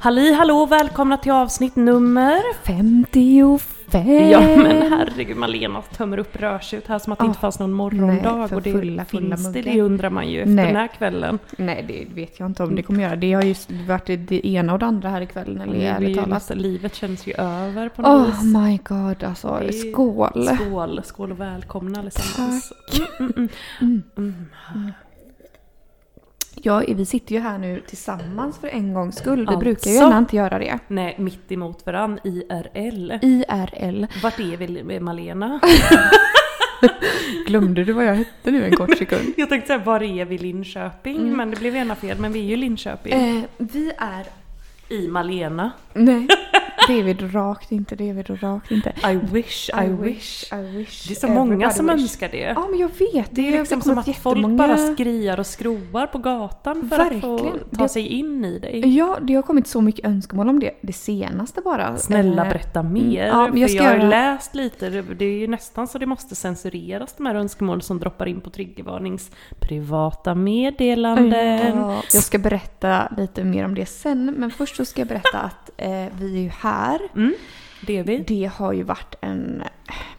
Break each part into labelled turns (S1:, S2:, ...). S1: Halli hallå, välkomna till avsnitt nummer...
S2: 55!
S1: Ja men herregud, Malena tömmer upp rörsut här som att det inte
S2: Ah,
S1: fanns någon morgondag.
S2: nej, för
S1: och det
S2: fulla, fulla
S1: finns det,
S2: muggar.
S1: det undrar man ju efter
S2: Nej.
S1: den här kvällen.
S2: Nej, det vet jag inte om det kommer göra. Det har ju varit det ena och det andra här ikväll, eller
S1: Det är
S2: ärligt
S1: ju
S2: talat.
S1: nästan, livet känns ju över på något vis.
S2: Oh my god, alltså.
S1: Det är-
S2: Skål!
S1: Skål, skål och välkomna allesammans. Mm,
S2: Ja, vi sitter ju här nu tillsammans för en gångs skull. Vi
S1: Alltså.
S2: brukar ju gärna inte göra det.
S1: Nej, mitt emot varann, IRL.
S2: IRL.
S1: Vart är vi eh, Malena?
S2: Glömde du vad jag hette nu en kort sekund?
S1: Jag tänkte säga, var är vi Linköping? Men det blev ena fel, men vi är ju Linköping.
S2: Mm. eh, vi är...
S1: I Malena.
S2: Nej, det är vi rakt inte. Det är vi rakt inte.
S1: I wish, I, wish.
S2: I wish.
S1: Det är så många
S2: Everybody
S1: som
S2: wish.
S1: önskar det.
S2: Ja, men jag vet.
S1: Det är liksom som att folk bara skriar och skroar på gatan för att få
S2: Verkligen.
S1: ta
S2: Det-
S1: sig in i dig.
S2: Ja, det har kommit så mycket önskemål om det. Det senaste bara.
S1: Snälla
S2: Eh,
S1: berätta mer.
S2: ja, men
S1: för
S2: jag ska
S1: jag har ju
S2: göra-
S1: läst lite, det det är ju nästan så det måste censureras de här önskemål som droppar in på Triggervarnings privata meddelanden.
S2: Ja, jag ska berätta lite mer om det sen, men först så ska jag berätta att eh, vi är ju här.
S1: Mm, det är vi.
S2: Det har ju varit en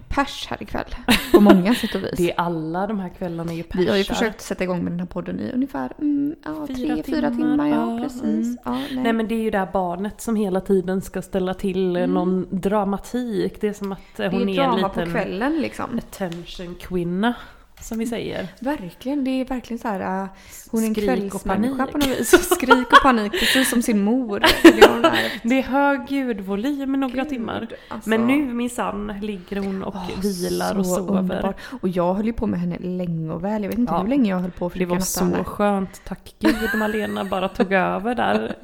S2: pers här ikväll på många sätt och vis.
S1: Det är alla de här kvällarna är ju persar.
S2: vi har ju försökt sätta igång med den här podden i ungefär mm, ja,
S1: Fyra
S2: tre,
S1: timmar,
S2: fyra timmar. Ja,
S1: ja,
S2: precis.
S1: mm.
S2: Ja, nej.
S1: Nej men det är ju det här barnet som hela tiden ska ställa till eh, någon dramatik. Det är som att eh,
S2: Mm. det är
S1: hon
S2: ju
S1: är en
S2: drama på
S1: liten
S2: kvällen liksom.
S1: attention-kvinna. Som vi säger.
S2: Verkligen, det är verkligen så här. äh, hon är en
S1: Skrik och
S2: kvällsmänniska
S1: panik.
S2: på något vis. Skrik och panik, precis som sin mor. Det är hon där.
S1: Det är hög ljudvolym i några
S2: Gud,
S1: timmar.
S2: alltså.
S1: Men nu minsann ligger hon och
S2: Åh,
S1: vilar och
S2: så
S1: sover.
S2: underbart. Och jag höll ju på med henne länge och väl. Jag vet inte
S1: Ja.
S2: hur länge jag höll på att
S1: Det
S2: försöka
S1: var
S2: natta henne.
S1: så skönt. Tack gud Malena bara tog över där.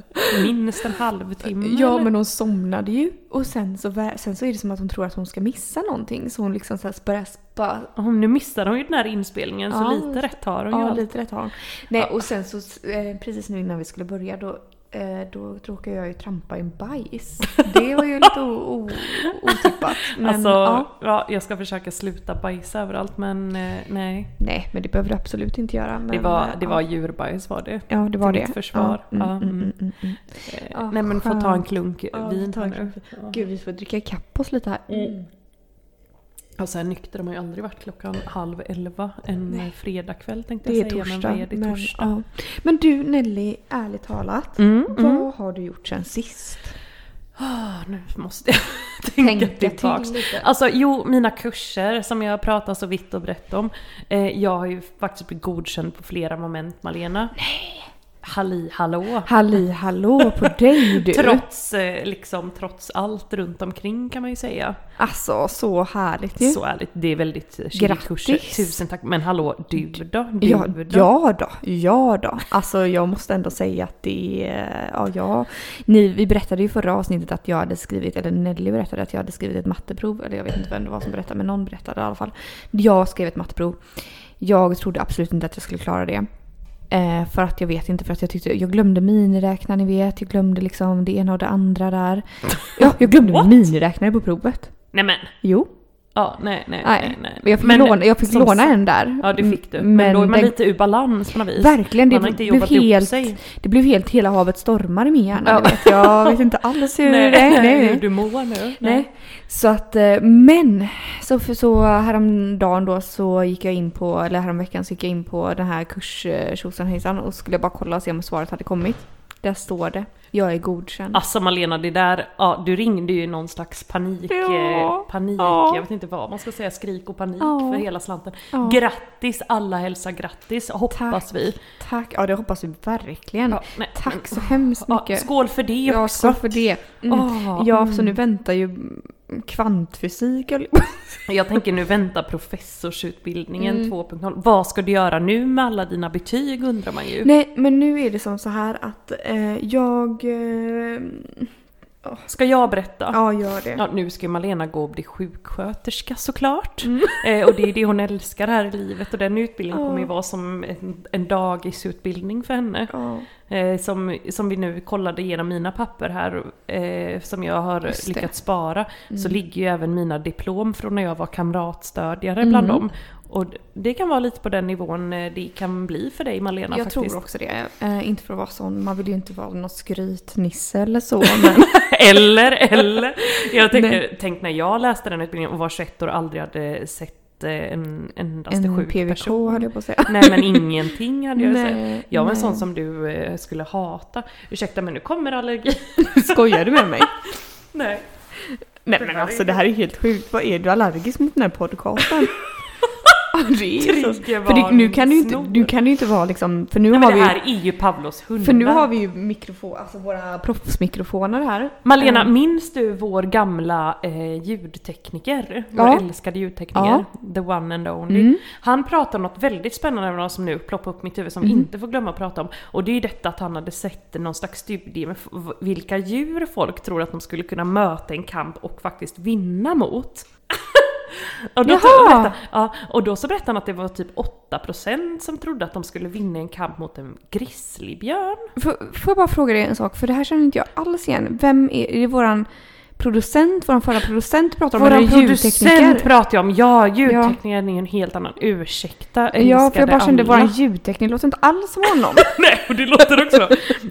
S1: Minst en halvtimme.
S2: Ja
S1: eller?
S2: men hon somnade ju och sen så, vä- sen så är det som att hon tror att hon ska missa någonting så hon liksom så här börjar spara.
S1: Åh, Nu missar hon ju den här inspelningen så
S2: Ja,
S1: lite rätt har hon ju.
S2: Ja
S1: allt.
S2: lite rätt har hon. Nej och sen så eh, precis nu innan vi skulle börja då eh, då råkade jag ju trampa i en bajs. Det var ju lite o- o- otippat. Men,
S1: alltså,
S2: ja.
S1: ja. jag ska försöka sluta bajsa överallt men eh, nej.
S2: Nej men det behöver du absolut inte göra. Men,
S1: Det var,
S2: eh,
S1: det var djurbajs var det.
S2: Ja det var
S1: till
S2: det.
S1: mitt försvar.
S2: Ja, mm,
S1: Ja,
S2: mm,
S1: mm.
S2: mm, mm, mm.
S1: Eh,
S2: Ja,
S1: nej men få ta en
S2: skönt.
S1: klunk
S2: Ja,
S1: vin
S2: ta
S1: här
S2: en
S1: nu.
S2: Gud vi får dricka ikapp oss lite här.
S1: Mm. Och sen nykter har man ju aldrig varit klockan halv elva en
S2: Nej.
S1: fredagkväll tänkte
S2: Det
S1: jag
S2: är
S1: säga. Men
S2: torsdag.
S1: vad är det torsdag?
S2: Men, ja. men du Nelly, ärligt talat.
S1: Mm, mm.
S2: Vad har du gjort sen sist?
S1: Ah, nu måste jag tänka, tillbaks.
S2: lite.
S1: Alltså jo, mina kurser som jag pratar så vitt och brett om. Eh, jag har ju faktiskt blivit godkänd på flera moment Malena. Nej! Halli hallå!
S2: Halli hallå på dig du!
S1: Trots, eh, liksom, trots allt runt omkring kan man ju säga.
S2: Alltså så härligt ju.
S1: Så ärligt, det är väldigt eh, chill
S2: Grattis.
S1: kurser. Tusen tack! Men hallå, du då? Du
S2: Ja,
S1: då?
S2: ja då, ja då. Alltså jag måste ändå säga att det är... Ja, ja. Ni, vi berättade ju förra avsnittet att jag hade skrivit, eller Nelly berättade att jag hade skrivit ett matteprov. Eller jag vet inte vem det var som berättade, men någon berättade i alla fall. Jag skrev ett matteprov. Jag trodde absolut inte att jag skulle klara det. Eh, för att jag vet inte, för att jag tyckte... Jag glömde miniräknaren, ni vet. Jag glömde liksom det ena och det andra där. Ja, jag glömde
S1: What?
S2: miniräknare på provet.
S1: Nej men!
S2: Jo.
S1: Ja, nej, nej, nej.
S2: Nej.
S1: nej.
S2: Men jag fick, låna, jag fick
S1: som
S2: låna
S1: sagt-
S2: en där.
S1: Ja, det fick du.
S2: Mm,
S1: Men, då är man
S2: den-
S1: lite ur balans på något vis.
S2: Verkligen, det
S1: man har inte
S2: blev
S1: jobbat ihop
S2: helt,
S1: sig.
S2: det blev helt hela havet stormar i min hjärna.
S1: Ja.
S2: du Vet. Jag vet inte alls hur
S1: nej,
S2: det är. Nej,
S1: hur
S2: nej.
S1: du mår nu.
S2: Nej. Så att, eh, men! Så, för, så häromdagen då så gick jag in på, eller häromveckan så gick jag in på den här kurs eh, tjosan hejsan och skulle bara kolla och se om svaret hade kommit. Där står det. Jag är godkänd.
S1: Alltså Malena, det där, ja, du ringde ju i någon slags panik,
S2: Ja.
S1: eh, panik,
S2: Ja.
S1: jag vet inte vad man ska säga, skrik och panik
S2: Ja.
S1: för hela slanten.
S2: Ja.
S1: Grattis, alla hälsar grattis, hoppas
S2: Tack.
S1: vi.
S2: Tack! Ja det hoppas vi verkligen.
S1: Ja, nej, men-
S2: Tack så hemskt
S1: Ja,
S2: mycket.
S1: skål för det
S2: Ja,
S1: också!
S2: så för det. Mm.
S1: Ah,
S2: Ja, så nu väntar ju mm, kvantfysik höll jag på att
S1: Jag tänker nu vänta professorsutbildningen
S2: Mm.
S1: 2.0. Vad ska du göra nu med alla dina betyg undrar
S2: Typ.
S1: man ju.
S2: Nej, men nu är det som så här att eh, jag... Eh,
S1: Ska jag berätta?
S2: Ja, gör det.
S1: Ja, nu ska ju Malena gå och bli sjuksköterska såklart.
S2: Mm.
S1: Eh, och det är det hon älskar här i livet och den utbildningen
S2: Ja.
S1: kommer ju vara som en, en dagisutbildning för henne.
S2: Ja.
S1: Eh, som, som vi nu kollade igenom mina papper här, eh, som jag
S2: Just
S1: har
S2: det. Mm.
S1: lyckats spara, så ligger ju även mina diplom från när jag var kamratstödjare bland
S2: Mm.
S1: dem. Och det kan vara lite på den nivån eh, det kan bli för dig Malena
S2: Jag
S1: faktiskt.
S2: tror också det. Eh, inte för att vara sån, man vill ju inte vara någon skrytnisse eller så. Men
S1: Eller, eller. Jag
S2: Nej.
S1: tänker, tänk när jag läste den utbildningen och var 21 år och aldrig hade sett eh, en endaste
S2: en
S1: sjuk
S2: PVK
S1: person.
S2: höll jag på att säga.
S1: Nej men ingenting hade jag sett.
S2: Nej,
S1: Jag var en
S2: nej.
S1: sån som du eh, skulle hata. Ursäkta men nu kommer allergi.
S2: Skojar du med mig?
S1: Nej.
S2: Nej men alltså det här är helt sjukt. Vad är du allergisk mot den här podcasten? Ja, det är så. För det, nu kan du ju inte, du kan ju inte vara liksom, för nu
S1: Nej,
S2: har
S1: men
S2: vi
S1: det
S2: ju-
S1: här är ju Pavlos hundar.
S2: För nu har vi ju mikrofon, alltså våra proffsmikrofoner här.
S1: Malena,
S2: Mm.
S1: minns du vår gamla eh, ljudtekniker? Vår
S2: Ja.
S1: älskade ljudtekniker. The one and only.
S2: Mm.
S1: Han pratade om något väldigt spännande med oss som nu ploppar upp i mitt huvud som vi
S2: Mm.
S1: inte får glömma att prata om. Och det är ju detta att han hade sett någon slags studie med f- v- vilka djur folk tror att de skulle kunna möta en kamp och faktiskt vinna mot. och, då
S2: Jaha!
S1: Jaha! Berätta, ja, och då så berättade han att det var typ 8% som trodde att de skulle vinna en kamp mot en grizzlybjörn.
S2: Får, får jag bara fråga dig en sak, för det här känner inte jag alls igen. Vem är, är det våran producent, våran förra producent pratar om? eller är
S1: Våran
S2: det
S1: producent
S2: ljudtekniker?
S1: pratar jag om, ja ljudtekniker är ju en helt annan. Ursäkta
S2: Ja, för jag
S1: älskade
S2: bara kände
S1: alla.
S2: våran ljudtekniker låter inte alls som honom.
S1: Nej, och det låter också...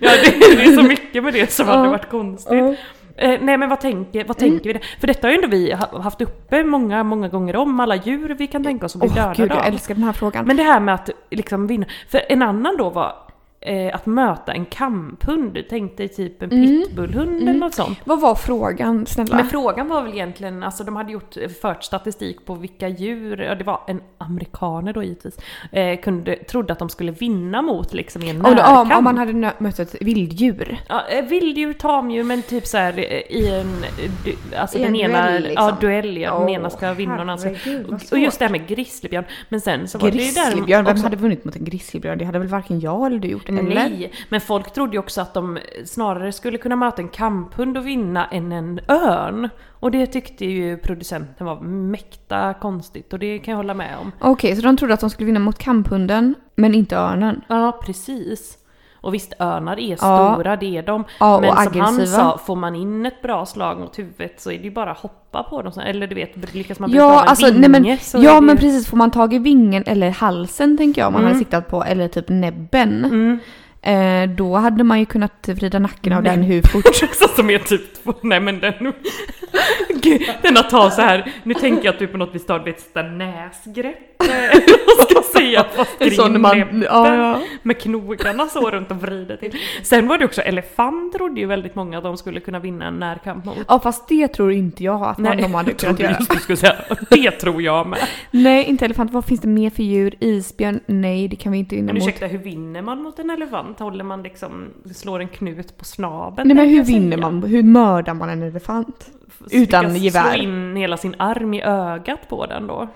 S1: Ja, det, det är så mycket med det som
S2: Ja. Mm.
S1: hade varit konstigt. Eh, nej men vad tänker, vad tänker vi? För detta har ju ändå vi ha- haft uppe många, många gånger om, alla djur vi kan tänka oss att bli
S2: Åh gud,
S1: dödade
S2: jag
S1: av.
S2: älskar den här frågan.
S1: Men det här med att liksom vinna. För en annan då var eh, att möta en kamphund. Tänk dig typ en
S2: Mm.
S1: pitbullhund eller något sånt.
S2: Vad var frågan, snälla?
S1: Men frågan var väl egentligen, alltså de hade gjort, fört statistik på vilka djur, ja det var en amerikaner då givetvis, eh, kunde, trodde att de skulle vinna mot liksom i en
S2: om,
S1: närkamp.
S2: om, om man hade nö- mött ett vilddjur.
S1: Ja, eh, vilddjur, tamdjur, men typ så här eh, i en... eh, du- Alltså
S2: I en
S1: den ena...
S2: duell, liksom.
S1: Ja, duell ja. Den
S2: Åh,
S1: ena ska vinna och den andra ska...
S2: herregud, vad
S1: och- Och just det här med grizzlybjörn. Men sen så var det ju där...
S2: Grizzlybjörn, vem hade vunnit mot en grizzlybjörn? Det hade väl varken jag eller du gjort? Eller?
S1: Nej, men folk trodde ju också att de snarare skulle kunna möta en kamphund och vinna än en örn. Och det tyckte ju producenten var mäkta konstigt och det kan jag hålla med om.
S2: Okej, så de trodde att de skulle vinna mot kamphunden, men inte örnen.
S1: Ja, precis. Och visst, örnar är
S2: Ja.
S1: stora, det är de.
S2: Ja, och
S1: men som han
S2: aggressiva.
S1: sa, får man in ett bra slag mot huvudet så är det ju bara att hoppa på dem. Eller du vet, lyckas man bryta av
S2: Ja,
S1: en
S2: alltså,
S1: vinge
S2: nej men,
S1: så är
S2: ja
S1: det
S2: men
S1: ju- Mm.
S2: precis, får man tag i vingen eller halsen tänker jag om man hade siktat på, eller typ näbben. Eh, då hade man ju kunnat vrida nacken av den hur fort...
S1: Också som är typ två, nej men den... Gud, Denna tar så här. nu tänker jag att du på något vis tar ett sånt där näsgrepp. eh, Jag ska säga fast
S2: Det är så när
S1: kring
S2: man-
S1: näbben.
S2: ja, ja.
S1: Med knogarna så runt och vrider till. Sen var det också elefant trodde ju väldigt många att de skulle kunna vinna en närkamp mot.
S2: Ja fast det tror inte jag att man, de hade
S1: jag trodde
S2: kunnat göra.
S1: just du skulle säga det tror jag med.
S2: Nej, inte elefant. Vad finns det mer för djur? Isbjörn? Nej, det kan vi inte vinna
S1: Men
S2: mot.
S1: ursäkta, hur vinner man mot en elefant? Håller man liksom, slår en knut på snaben?
S2: Nej men
S1: tänkte
S2: hur
S1: jag säga.
S2: vinner man? Hur mördar man en elefant?
S1: Försöka
S2: utan gevär?
S1: Slå in hela sin arm i ögat på den då?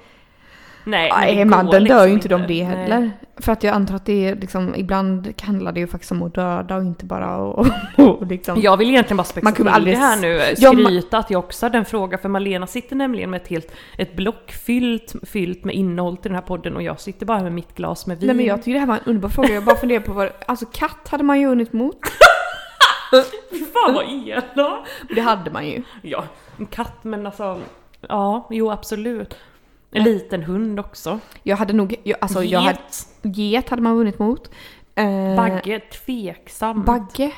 S1: Nej, men
S2: Nej
S1: det
S2: man,
S1: går
S2: den dör
S1: liksom
S2: ju inte de det
S1: Nej.
S2: heller. För att jag antar att det är liksom, ibland handlar det ju faktiskt om att döda och inte bara och, och, och liksom...
S1: Jag vill egentligen bara spexa
S2: Man kunde
S1: till
S2: aldrig-
S1: det här nu,
S2: Ja, man-
S1: skryta att jag också hade en fråga, för Malena sitter nämligen med ett helt ett block fyllt, fyllt med innehåll till den här podden och jag sitter bara med mitt glas med vin.
S2: Nej men jag tycker det här var en underbar fråga. Jag bara funderar på vad... Alltså katt hade man ju hunnit mot.
S1: Fan vad elak!
S2: Det hade man ju.
S1: Ja, en katt men alltså, ja, jo absolut. En liten hund också.
S2: Jag hade nog... Jag, alltså,
S1: Get,
S2: Jag hade, get hade man vunnit mot. Eh,
S1: Bagge, tveksam.
S2: Bagge.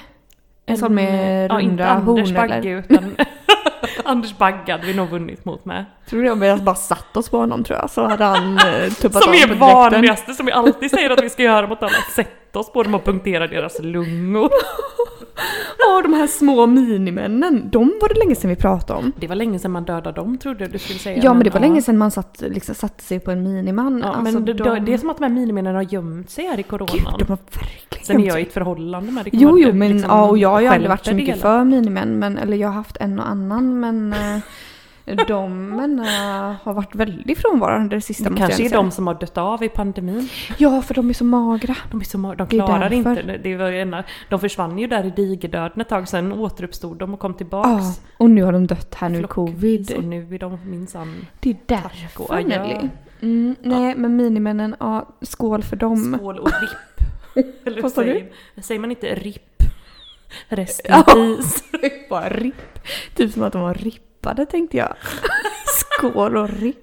S2: En sån med
S1: Ja, inte
S2: runda horn
S1: Anders
S2: eller?
S1: Bagge utan Anders Bagge hade vi nog vunnit mot med.
S2: Tror du om vi hade bara satt oss på honom tror jag så hade han eh, tuppat
S1: Som
S2: av
S1: är
S2: på direkten.
S1: vanligaste, som vi alltid säger att vi ska göra mot alla. Sätta oss på dem och punktera deras lungor.
S2: Ja, de här små minimännen. De var det länge sedan vi pratade om.
S1: Det var länge sedan man dödade dem trodde jag du skulle säga.
S2: Ja men det var länge sedan man satt, liksom, satte sig på en miniman.
S1: Ja,
S2: Alltså,
S1: men det,
S2: de-
S1: det är som att de här minimännen har gömt sig här i
S2: Gud,
S1: coronan.
S2: de har verkligen...
S1: Sen är jag i ett förhållande med det. kan
S2: Jo,
S1: man
S2: jo,
S1: inte
S2: men
S1: liksom
S2: ja, och jag har ju aldrig
S1: skälpa
S2: varit så
S1: det
S2: mycket
S1: hela.
S2: för minimän, men eller jag har haft en och annan men eh, De männen har varit väldigt frånvarande det sista
S1: Det
S2: måste jag
S1: kanske är
S2: säga.
S1: de som har dött av i pandemin.
S2: Ja, för de är så magra.
S1: De, är så, ma- de
S2: Det är
S1: klarar
S2: därför.
S1: inte. Det var ju ena, de försvann ju där i digerdöden ett tag, sen återuppstod de och kom
S2: Ja,
S1: tillbaks.
S2: och nu har de dött här nu i
S1: Flockvis,
S2: covid.
S1: Och nu är de minsann...
S2: Det är
S1: Tack och
S2: därför
S1: adjö.
S2: Nelly. Mm, nej, men minimännen, ja, skål för dem.
S1: Skål och ripp. Eller
S2: Vad sa du?
S1: säger, säger man inte ripp? Resten
S2: Ja.
S1: i is.
S2: Bara ripp. Typ som att de var rippade tänkte jag. Skål och ripp.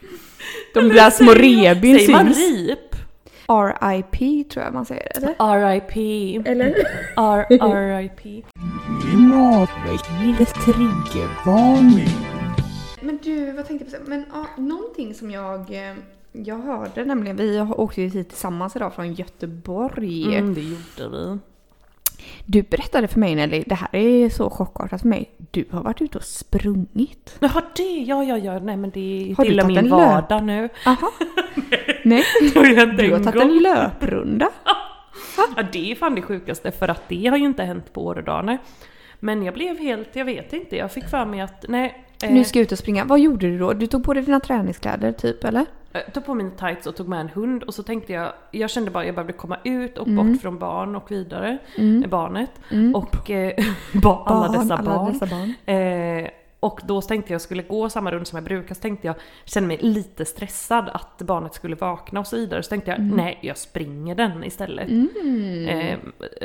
S2: De där små rebyn
S1: Säger man
S2: syns.
S1: rip?
S2: RIP tror jag man säger. Eller?
S1: RIP. Mm.
S2: eller?
S1: R- RIP.
S3: Klimatväckningens triggervarning.
S2: Men du, vad tänkte jag på? Men ja, någonting som jag, eh, jag hörde nämligen, vi åkte ju hit tillsammans idag från Göteborg.
S1: Mm, det gjorde vi.
S2: Du berättade för mig Nelly, det här är så chockartat för mig. Du har varit ute och sprungit.
S1: Jaha det, ja ja ja, nej men det är
S2: Har du
S1: till och
S2: tagit
S1: min
S2: en
S1: vardag nu.
S2: Aha. Nej.
S1: Tror jag inte
S2: Du har
S1: en
S2: tagit
S1: gång.
S2: en löprunda.
S1: Ja, det är fan det sjukaste för att det har ju inte hänt på år och dagar. nej. Men jag blev helt, jag vet inte, jag fick för mig att nej. eh,
S2: Nu ska jag ut och springa. Vad gjorde du då? Du tog på dig dina träningskläder typ eller?
S1: Jag eh, tog på mina tights och tog med en hund och så tänkte jag, jag kände bara att jag behövde komma ut och
S2: Mm.
S1: bort från barn och vidare. med Barnet. Och eh, ba- alla
S2: Barn,
S1: dessa
S2: alla
S1: barn.
S2: dessa barn.
S1: Eh, och då tänkte jag skulle gå samma runda som jag brukar så tänkte jag, kände mig lite stressad att barnet skulle vakna och så vidare. Så tänkte jag, nej jag springer den istället. Eh,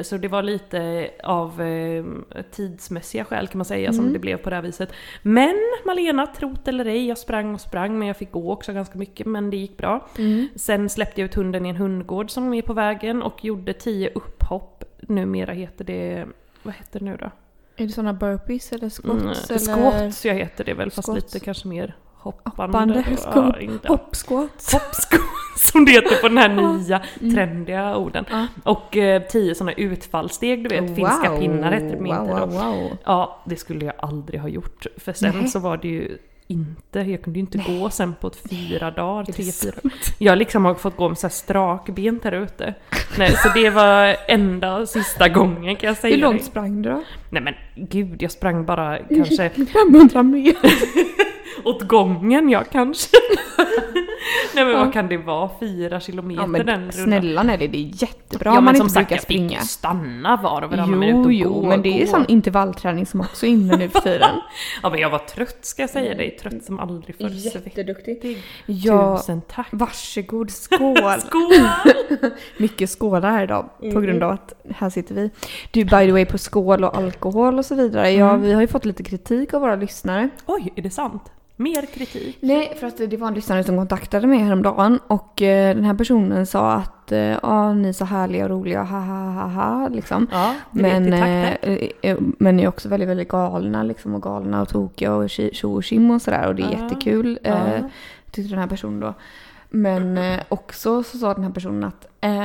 S1: så det var lite av eh, tidsmässiga skäl kan man säga som det blev på det här viset. Men Malena, trot eller ej, jag sprang och sprang men jag fick gå också ganska mycket men det gick bra. Sen släppte jag ut hunden i en hundgård som är på vägen och gjorde tio upphopp. Numera heter det, vad heter det nu då?
S2: Är det sådana burpees eller
S1: Mm,
S2: squats? eller?
S1: Squats jag heter det väl, fast
S2: Squats.
S1: lite kanske mer hoppande.
S2: Hoppande.
S1: Ja,
S2: Skop-
S1: inte-
S2: Hoppsquats.
S1: Hoppsquats som det heter på den här nya trendiga orden.
S2: Mm. Ja.
S1: Och eh, tio sådana utfallssteg, du vet, finska pinnar heter det
S2: wow,
S1: inte
S2: wow,
S1: då.
S2: wow.
S1: Ja, det skulle jag aldrig ha gjort. För sen
S2: Nej.
S1: så var det ju inte, jag kunde ju inte gå sen på ett fyra dagar,
S2: Är det
S1: tre, fyra.
S2: sant?
S1: Jag liksom har fått gå med så här strakbent här ute. Nej, så det var enda sista gången kan jag säga.
S2: Hur långt
S1: dig.
S2: sprang du då?
S1: Nej men gud, jag sprang bara kanske
S2: 500 meter.
S1: åt gången jag kanske. Nej men vad kan det vara? Fyra kilometer
S2: Ja,
S1: den
S2: men
S1: rundan.
S2: snälla Nelly, det är jättebra
S1: Ja, men
S2: om man
S1: som
S2: inte
S1: sagt,
S2: brukar
S1: jag fick
S2: springa.
S1: ju stanna var och varannan minut
S2: Jo,
S1: och
S2: jo,
S1: gå,
S2: men det är
S1: gå.
S2: sån intervallträning som också är inne nu för tiden.
S1: Ja men jag var trött ska jag säga dig, trött som aldrig förr. Jätteduktig.
S2: Ja,
S1: Tusen tack.
S2: varsågod, skål!
S1: Skål! Mm.
S2: Mycket skålar här idag på grund av att här sitter vi. Du, by the way, på skål och alkohol och så vidare. Ja,
S1: Mm.
S2: vi har ju fått lite kritik av våra lyssnare.
S1: Oj, är det sant? Mer kritik?
S2: Nej, för att det var en lyssnare som kontaktade mig häromdagen och eh, den här personen sa att eh, ja, ni är så härliga och roliga, ha ha ha ha liksom.
S1: Ja, det vet
S2: Men,
S1: vi, tack,
S2: eh,
S1: tack.
S2: eh, men ni är också väldigt, väldigt galna liksom och galna och tokiga och tji- tjo och tjim och sådär och det är
S1: Ja.
S2: jättekul eh,
S1: Ja.
S2: tyckte den här personen då. Men eh, också så sa den här personen att eh,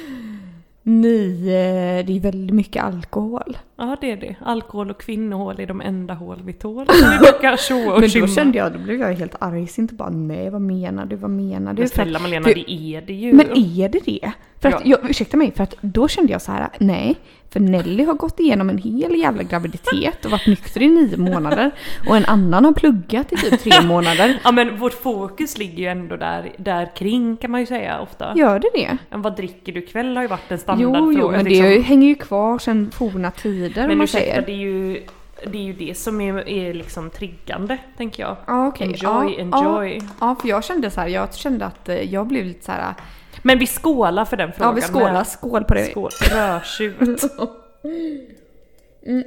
S2: ni, eh, det är väldigt mycket alkohol.
S1: Ja det är det. Alkohol och kvinnohål är de enda hål vi tål. Som vi brukar tjoa och
S2: Men då
S1: tjimma.
S2: kände jag, då blev jag helt arg, så inte bara nej vad menar du, vad menar du?
S1: Men
S2: För att-
S1: snälla Malena,
S2: för-
S1: det är det ju.
S2: Men är det det? För att,
S1: Ja.
S2: jag, ursäkta mig, för att då kände jag så här, nej. För Nelly har gått igenom en hel jävla graviditet och varit nykter i nio månader. Och en annan har pluggat i typ tre månader.
S1: Ja men vårt fokus ligger ju ändå där, där kring kan man ju säga ofta.
S2: Gör det det?
S1: Men vad dricker du ikväll har ju varit en standardfråga.
S2: Jo, jo, men det
S1: liksom.
S2: är ju- hänger ju kvar sedan forna tider om
S1: Men
S2: man
S1: ursäkta,
S2: säger.
S1: det är ju det, är ju det som är, är liksom triggande, tänker jag.
S2: Ja, okej.
S1: Enjoy,
S2: ja,
S1: enjoy.
S2: Ja, ja, för jag kände så här, jag kände att eh, jag blev lite så här,
S1: Men vi skålar för den frågan.
S2: ja vi skålar,
S1: med.
S2: skål på det.
S1: Skål. Rödtjut.
S2: Mm.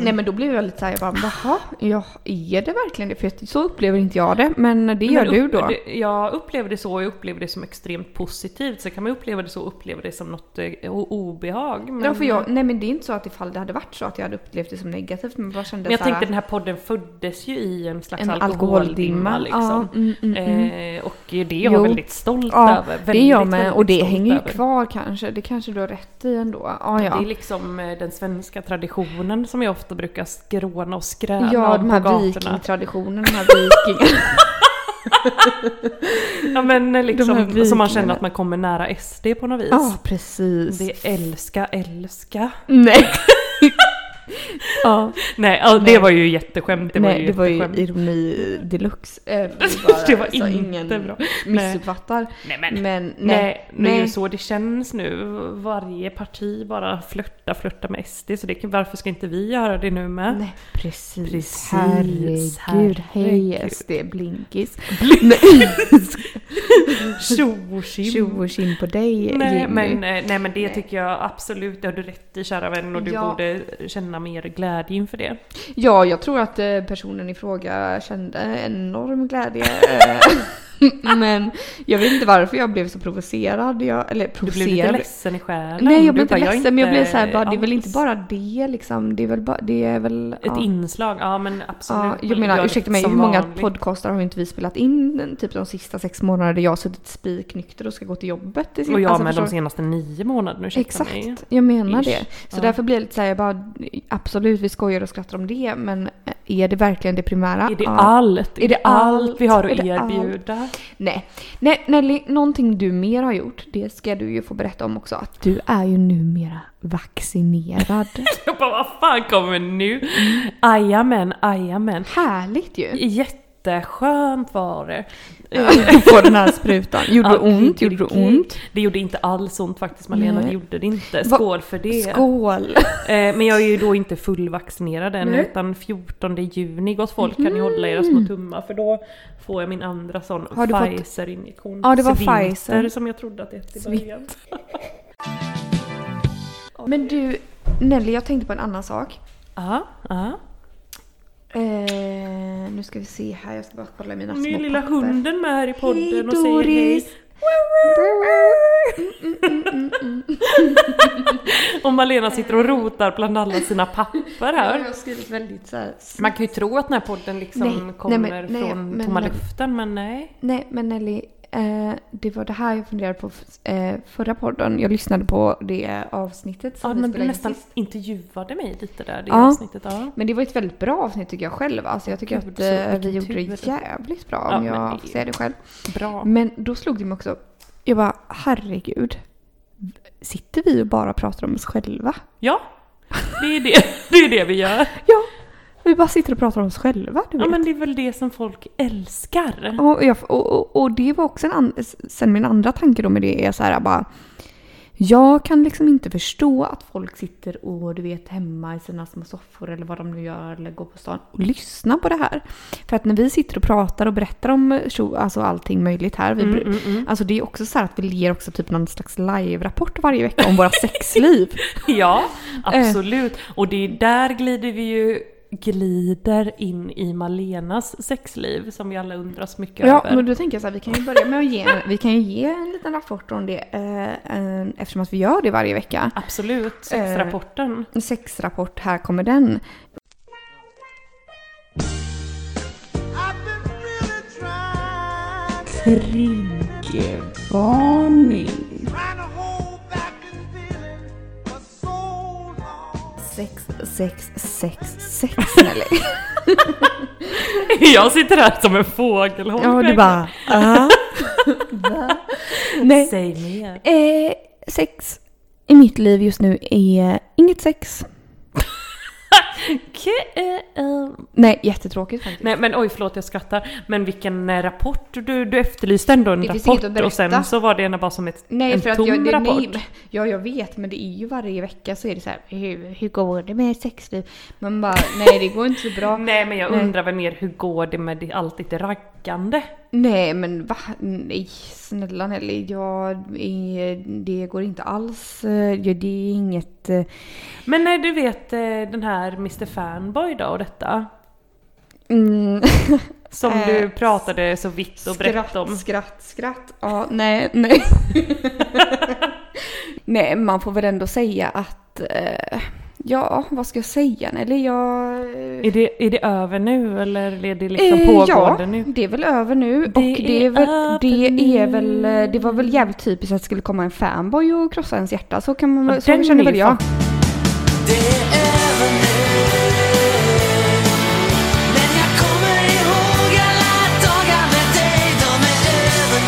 S2: Nej men då blev jag lite så här, jag bara, jaha, ja, är det verkligen det? För jag- så upplever inte jag det, men det gör
S1: Men
S2: du
S1: upp-
S2: då.
S1: det- Jag upplever det så och jag upplever det som extremt positivt. Sen kan man ju uppleva det så och uppleva det som något eh, o- obehag. Men,
S2: Ja, för jag, nej men det är inte så att ifall det hade varit så att jag hade upplevt det som negativt men bara kände
S1: men jag
S2: så här-
S1: tänkte den här podden föddes ju i en slags
S2: En
S1: alkoholdimma.
S2: alkoholdimma,
S1: liksom.
S2: ja, mm, mm,
S1: eh, och det är jag
S2: Jo.
S1: väldigt stolt
S2: Ja,
S1: över.
S2: det är jag
S1: Väldigt,
S2: med
S1: väldigt
S2: och det
S1: stolt
S2: hänger ju
S1: över.
S2: kvar kanske. Det kanske du har rätt i ändå. Ja,
S1: Det är
S2: ja.
S1: liksom eh, den svenska traditionen som jag ofta brukar skråna och skräna
S2: Ja,
S1: om
S2: de
S1: på
S2: här
S1: gatorna.
S2: vikingtraditionerna, de här viking...
S1: Ja men eh, liksom,
S2: De här
S1: som man känner
S2: vikingarna.
S1: att man kommer nära SD på något vis.
S2: Ja, precis.
S1: Det är älska, älska.
S2: Nej. Ja,
S1: Nej, ja, det var ju jätteskämt. Det var
S2: nej,
S1: ju
S2: det var ju
S1: jätteskämt.
S2: ironi deluxe. Eh,
S1: Det var
S2: så
S1: inte
S2: ingen
S1: bra.
S2: missuppfattar.
S1: Nej men.
S2: Men nej.
S1: Nej, det är ju
S2: nej.
S1: så det känns nu. Varje parti bara flörtar, flörtar med SD. Så det, kan- varför ska inte vi göra det nu med?
S2: Nej, precis.
S1: Precis,
S2: Herregud, hej
S1: herregud.
S2: SD, blinkis.
S1: Tjo och tjim.
S2: Tjo och tjim på dig
S1: Nej
S2: Jimmy.
S1: men, eh, nej men det
S2: Nej.
S1: tycker jag absolut, det har du rätt i kära vän och du
S2: Ja.
S1: borde känna mer glädje inför det.
S2: Ja, jag tror att eh, personen i fråga kände enorm glädje. eh, men jag vet inte varför jag blev så provocerad. Jag, eller
S1: Du blev
S2: provocerad.
S1: lite ledsen i själen.
S2: Nej, jag
S1: Du
S2: blev inte
S1: bara, är
S2: ledsen men jag blev så här, bara, det är
S1: alls-
S2: väl inte bara det liksom. Det är väl bara, det är väl...
S1: Ett inslag, ja men absolut.
S2: Ja, jag
S1: Men
S2: menar,
S1: gör
S2: ursäkta
S1: rätt
S2: mig, hur
S1: som
S2: många
S1: vanligt.
S2: podcastar har inte vi spelat in typ de sista sex månaderna där jag har suttit spiknykter och ska gå till jobbet? i sin- alltså,
S1: Och jag med
S2: förstår-
S1: de senaste nio månaderna, ursäkta
S2: Exakt,
S1: mig.
S2: jag menar
S1: Ish.
S2: det. Så
S1: Ja.
S2: därför blir det lite såhär, jag bara absolut vi skojar och skrattar om det men eh, är det verkligen det primära?
S1: Är det
S2: Ja.
S1: allt?
S2: Är det allt?
S1: vi har att
S2: Är det allt?
S1: erbjuda?
S2: Nej. Nej, Nelly, någonting du mer har gjort, det ska du ju få berätta om också. Att du är ju numera vaccinerad.
S1: Jag bara, vad fan kommer nu? Jajamän, jajamän.
S2: Härligt ju!
S1: Jätteskönt var det.
S2: På den här sprutan. Gjorde det
S1: Ja,
S2: ont?
S1: gud,
S2: Gjorde det
S1: gud.
S2: ont?
S1: Det gjorde inte alls ont faktiskt Malena,
S2: Nej.
S1: det gjorde det inte.
S2: Va-
S1: Skål för det.
S2: Skål!
S1: Eh, men jag är ju då inte fullvaccinerad än
S2: Nej. Mhm.
S1: utan 14 juni, gott folk kan ni hålla era små tummar för då får jag min andra sån
S2: Har du fått-
S1: Pfizer-injektion.
S2: Ja, det var
S1: Svinter,
S2: Pfizer.
S1: som jag trodde att det hette i början.
S2: Men du, Nelly, jag tänkte på en annan sak.
S1: Ja, ja.
S2: Eh, nu ska vi se här, jag ska bara kolla i mina
S1: Nu är
S2: små
S1: lilla
S2: papper.
S1: hunden med här i podden
S2: Hej,
S1: och säger hej.
S2: Doris. Mm, mm, mm, mm, mm.
S1: Och Malena sitter och rotar bland alla sina papper
S2: Ja,
S1: här.
S2: Jag har skrivit väldigt så här. s-
S1: Man kan ju tro att den här podden liksom
S2: Nej, nej,
S1: kommer
S2: men- nej,
S1: från
S2: men-
S1: tomma
S2: men-
S1: luften, men nej.
S2: Nej, men Nelly, eh, det var det här jag funderade på f- eh, förra podden. Jag lyssnade på det avsnittet som
S1: Ja,
S2: vi
S1: men
S2: spelade
S1: du
S2: in
S1: nästan
S2: sist.
S1: intervjuade mig lite där i
S2: Ja.
S1: avsnittet. Ja.
S2: Men det var ett väldigt bra avsnitt tycker jag själv. Alltså jag tycker
S1: Gud,
S2: att
S1: så
S2: eh, vi
S1: vilken
S2: gjorde det
S1: tur.
S2: jävligt bra
S1: Ja,
S2: om
S1: men
S2: jag
S1: det-
S2: får säga det själv.
S1: Bra.
S2: Men då slog det mig också. Jag bara, herregud. Sitter vi och bara pratar om oss själva?
S1: Ja, det är det, det, är det vi gör.
S2: Ja, vi bara sitter och pratar om oss själva. Du
S1: Ja,
S2: vet.
S1: men det är väl det som folk älskar.
S2: Och, jag, och, och, och det var också en an, sen min andra tanke då med det är så här bara. Jag kan liksom inte förstå att folk sitter och du vet hemma i sina små soffor eller vad de nu gör eller går på stan och lyssnar på det här. För att när vi sitter och pratar och berättar om tjo- alltså allting möjligt här. Vi, br- Alltså det är också så här att vi ger också typ någon slags live-rapport varje vecka om våra sexliv.
S1: Ja,
S2: Eh.
S1: absolut. Och det är där glider vi ju glider in i Malenas sexliv som vi alla undrar så mycket
S2: Ja,
S1: över.
S2: men då tänker jag så här, vi kan ju börja med att ge, vi kan ju ge en liten rapport om det eh, eh, eftersom att vi gör det varje vecka. Eh.
S1: Absolut, sexrapporten.
S2: Sexrapport, här kommer den.
S4: I've been really trying,
S3: Triggervarning.
S4: trying to hold back this feeling for so long.
S2: Sex, sex, sex, sex Nelly.
S1: Jag sitter här som en fågelholk.
S2: Ja, du
S1: verkligen.
S2: bara ah, va? Nej.
S1: Säg mer.
S2: Eh, sex i mitt liv just nu är inget sex. Nej, jättetråkigt faktiskt.
S1: Nej men oj förlåt jag skrattar. Men vilken eh, rapport du, du efterlyste ändå en
S2: Det finns inget att
S1: rapport
S2: berätta.
S1: och sen så var det ena bara som ett,
S2: Nej,
S1: en
S2: för att
S1: tom
S2: jag, det,
S1: rapport.
S2: nej, men- ja, jag vet, men det är ju varje vecka så är det så här, hur, hur går det med sexliv? Man bara, nej det går inte så bra.
S1: Nej men jag
S2: Nej.
S1: undrar väl mer hur går det med det- allt ditt raggande?
S2: Nej men va? Nej snälla Nelly, jag, är- det går inte alls. Eh, ja, Det är inget... eh,
S1: Men när du vet eh, den här Mr Fanboy då och detta?
S2: Mm,
S1: Som
S2: Eh,
S1: du pratade så vitt och brett om.
S2: skratt, skratt, skratt. Ja, nej, nej. nej, man får väl ändå säga att... eh, ja, vad ska jag säga Nelly? Jag... eh,
S1: Är det, är det över nu eller är det liksom pågående
S2: ja,
S1: nu?
S2: det är väl över nu. och det är,
S1: är
S2: väl,
S1: över
S2: det är väl... eh,
S1: nu.
S2: Det var väl jävligt typiskt att det skulle komma en fanboy och krossa ens hjärta. Så, kan man, väl-
S1: Ja,
S2: så
S1: den
S2: känner
S1: är
S2: väl
S1: ju
S2: jag.
S4: Men jag kommer ihåg alla dagar med dig, de är över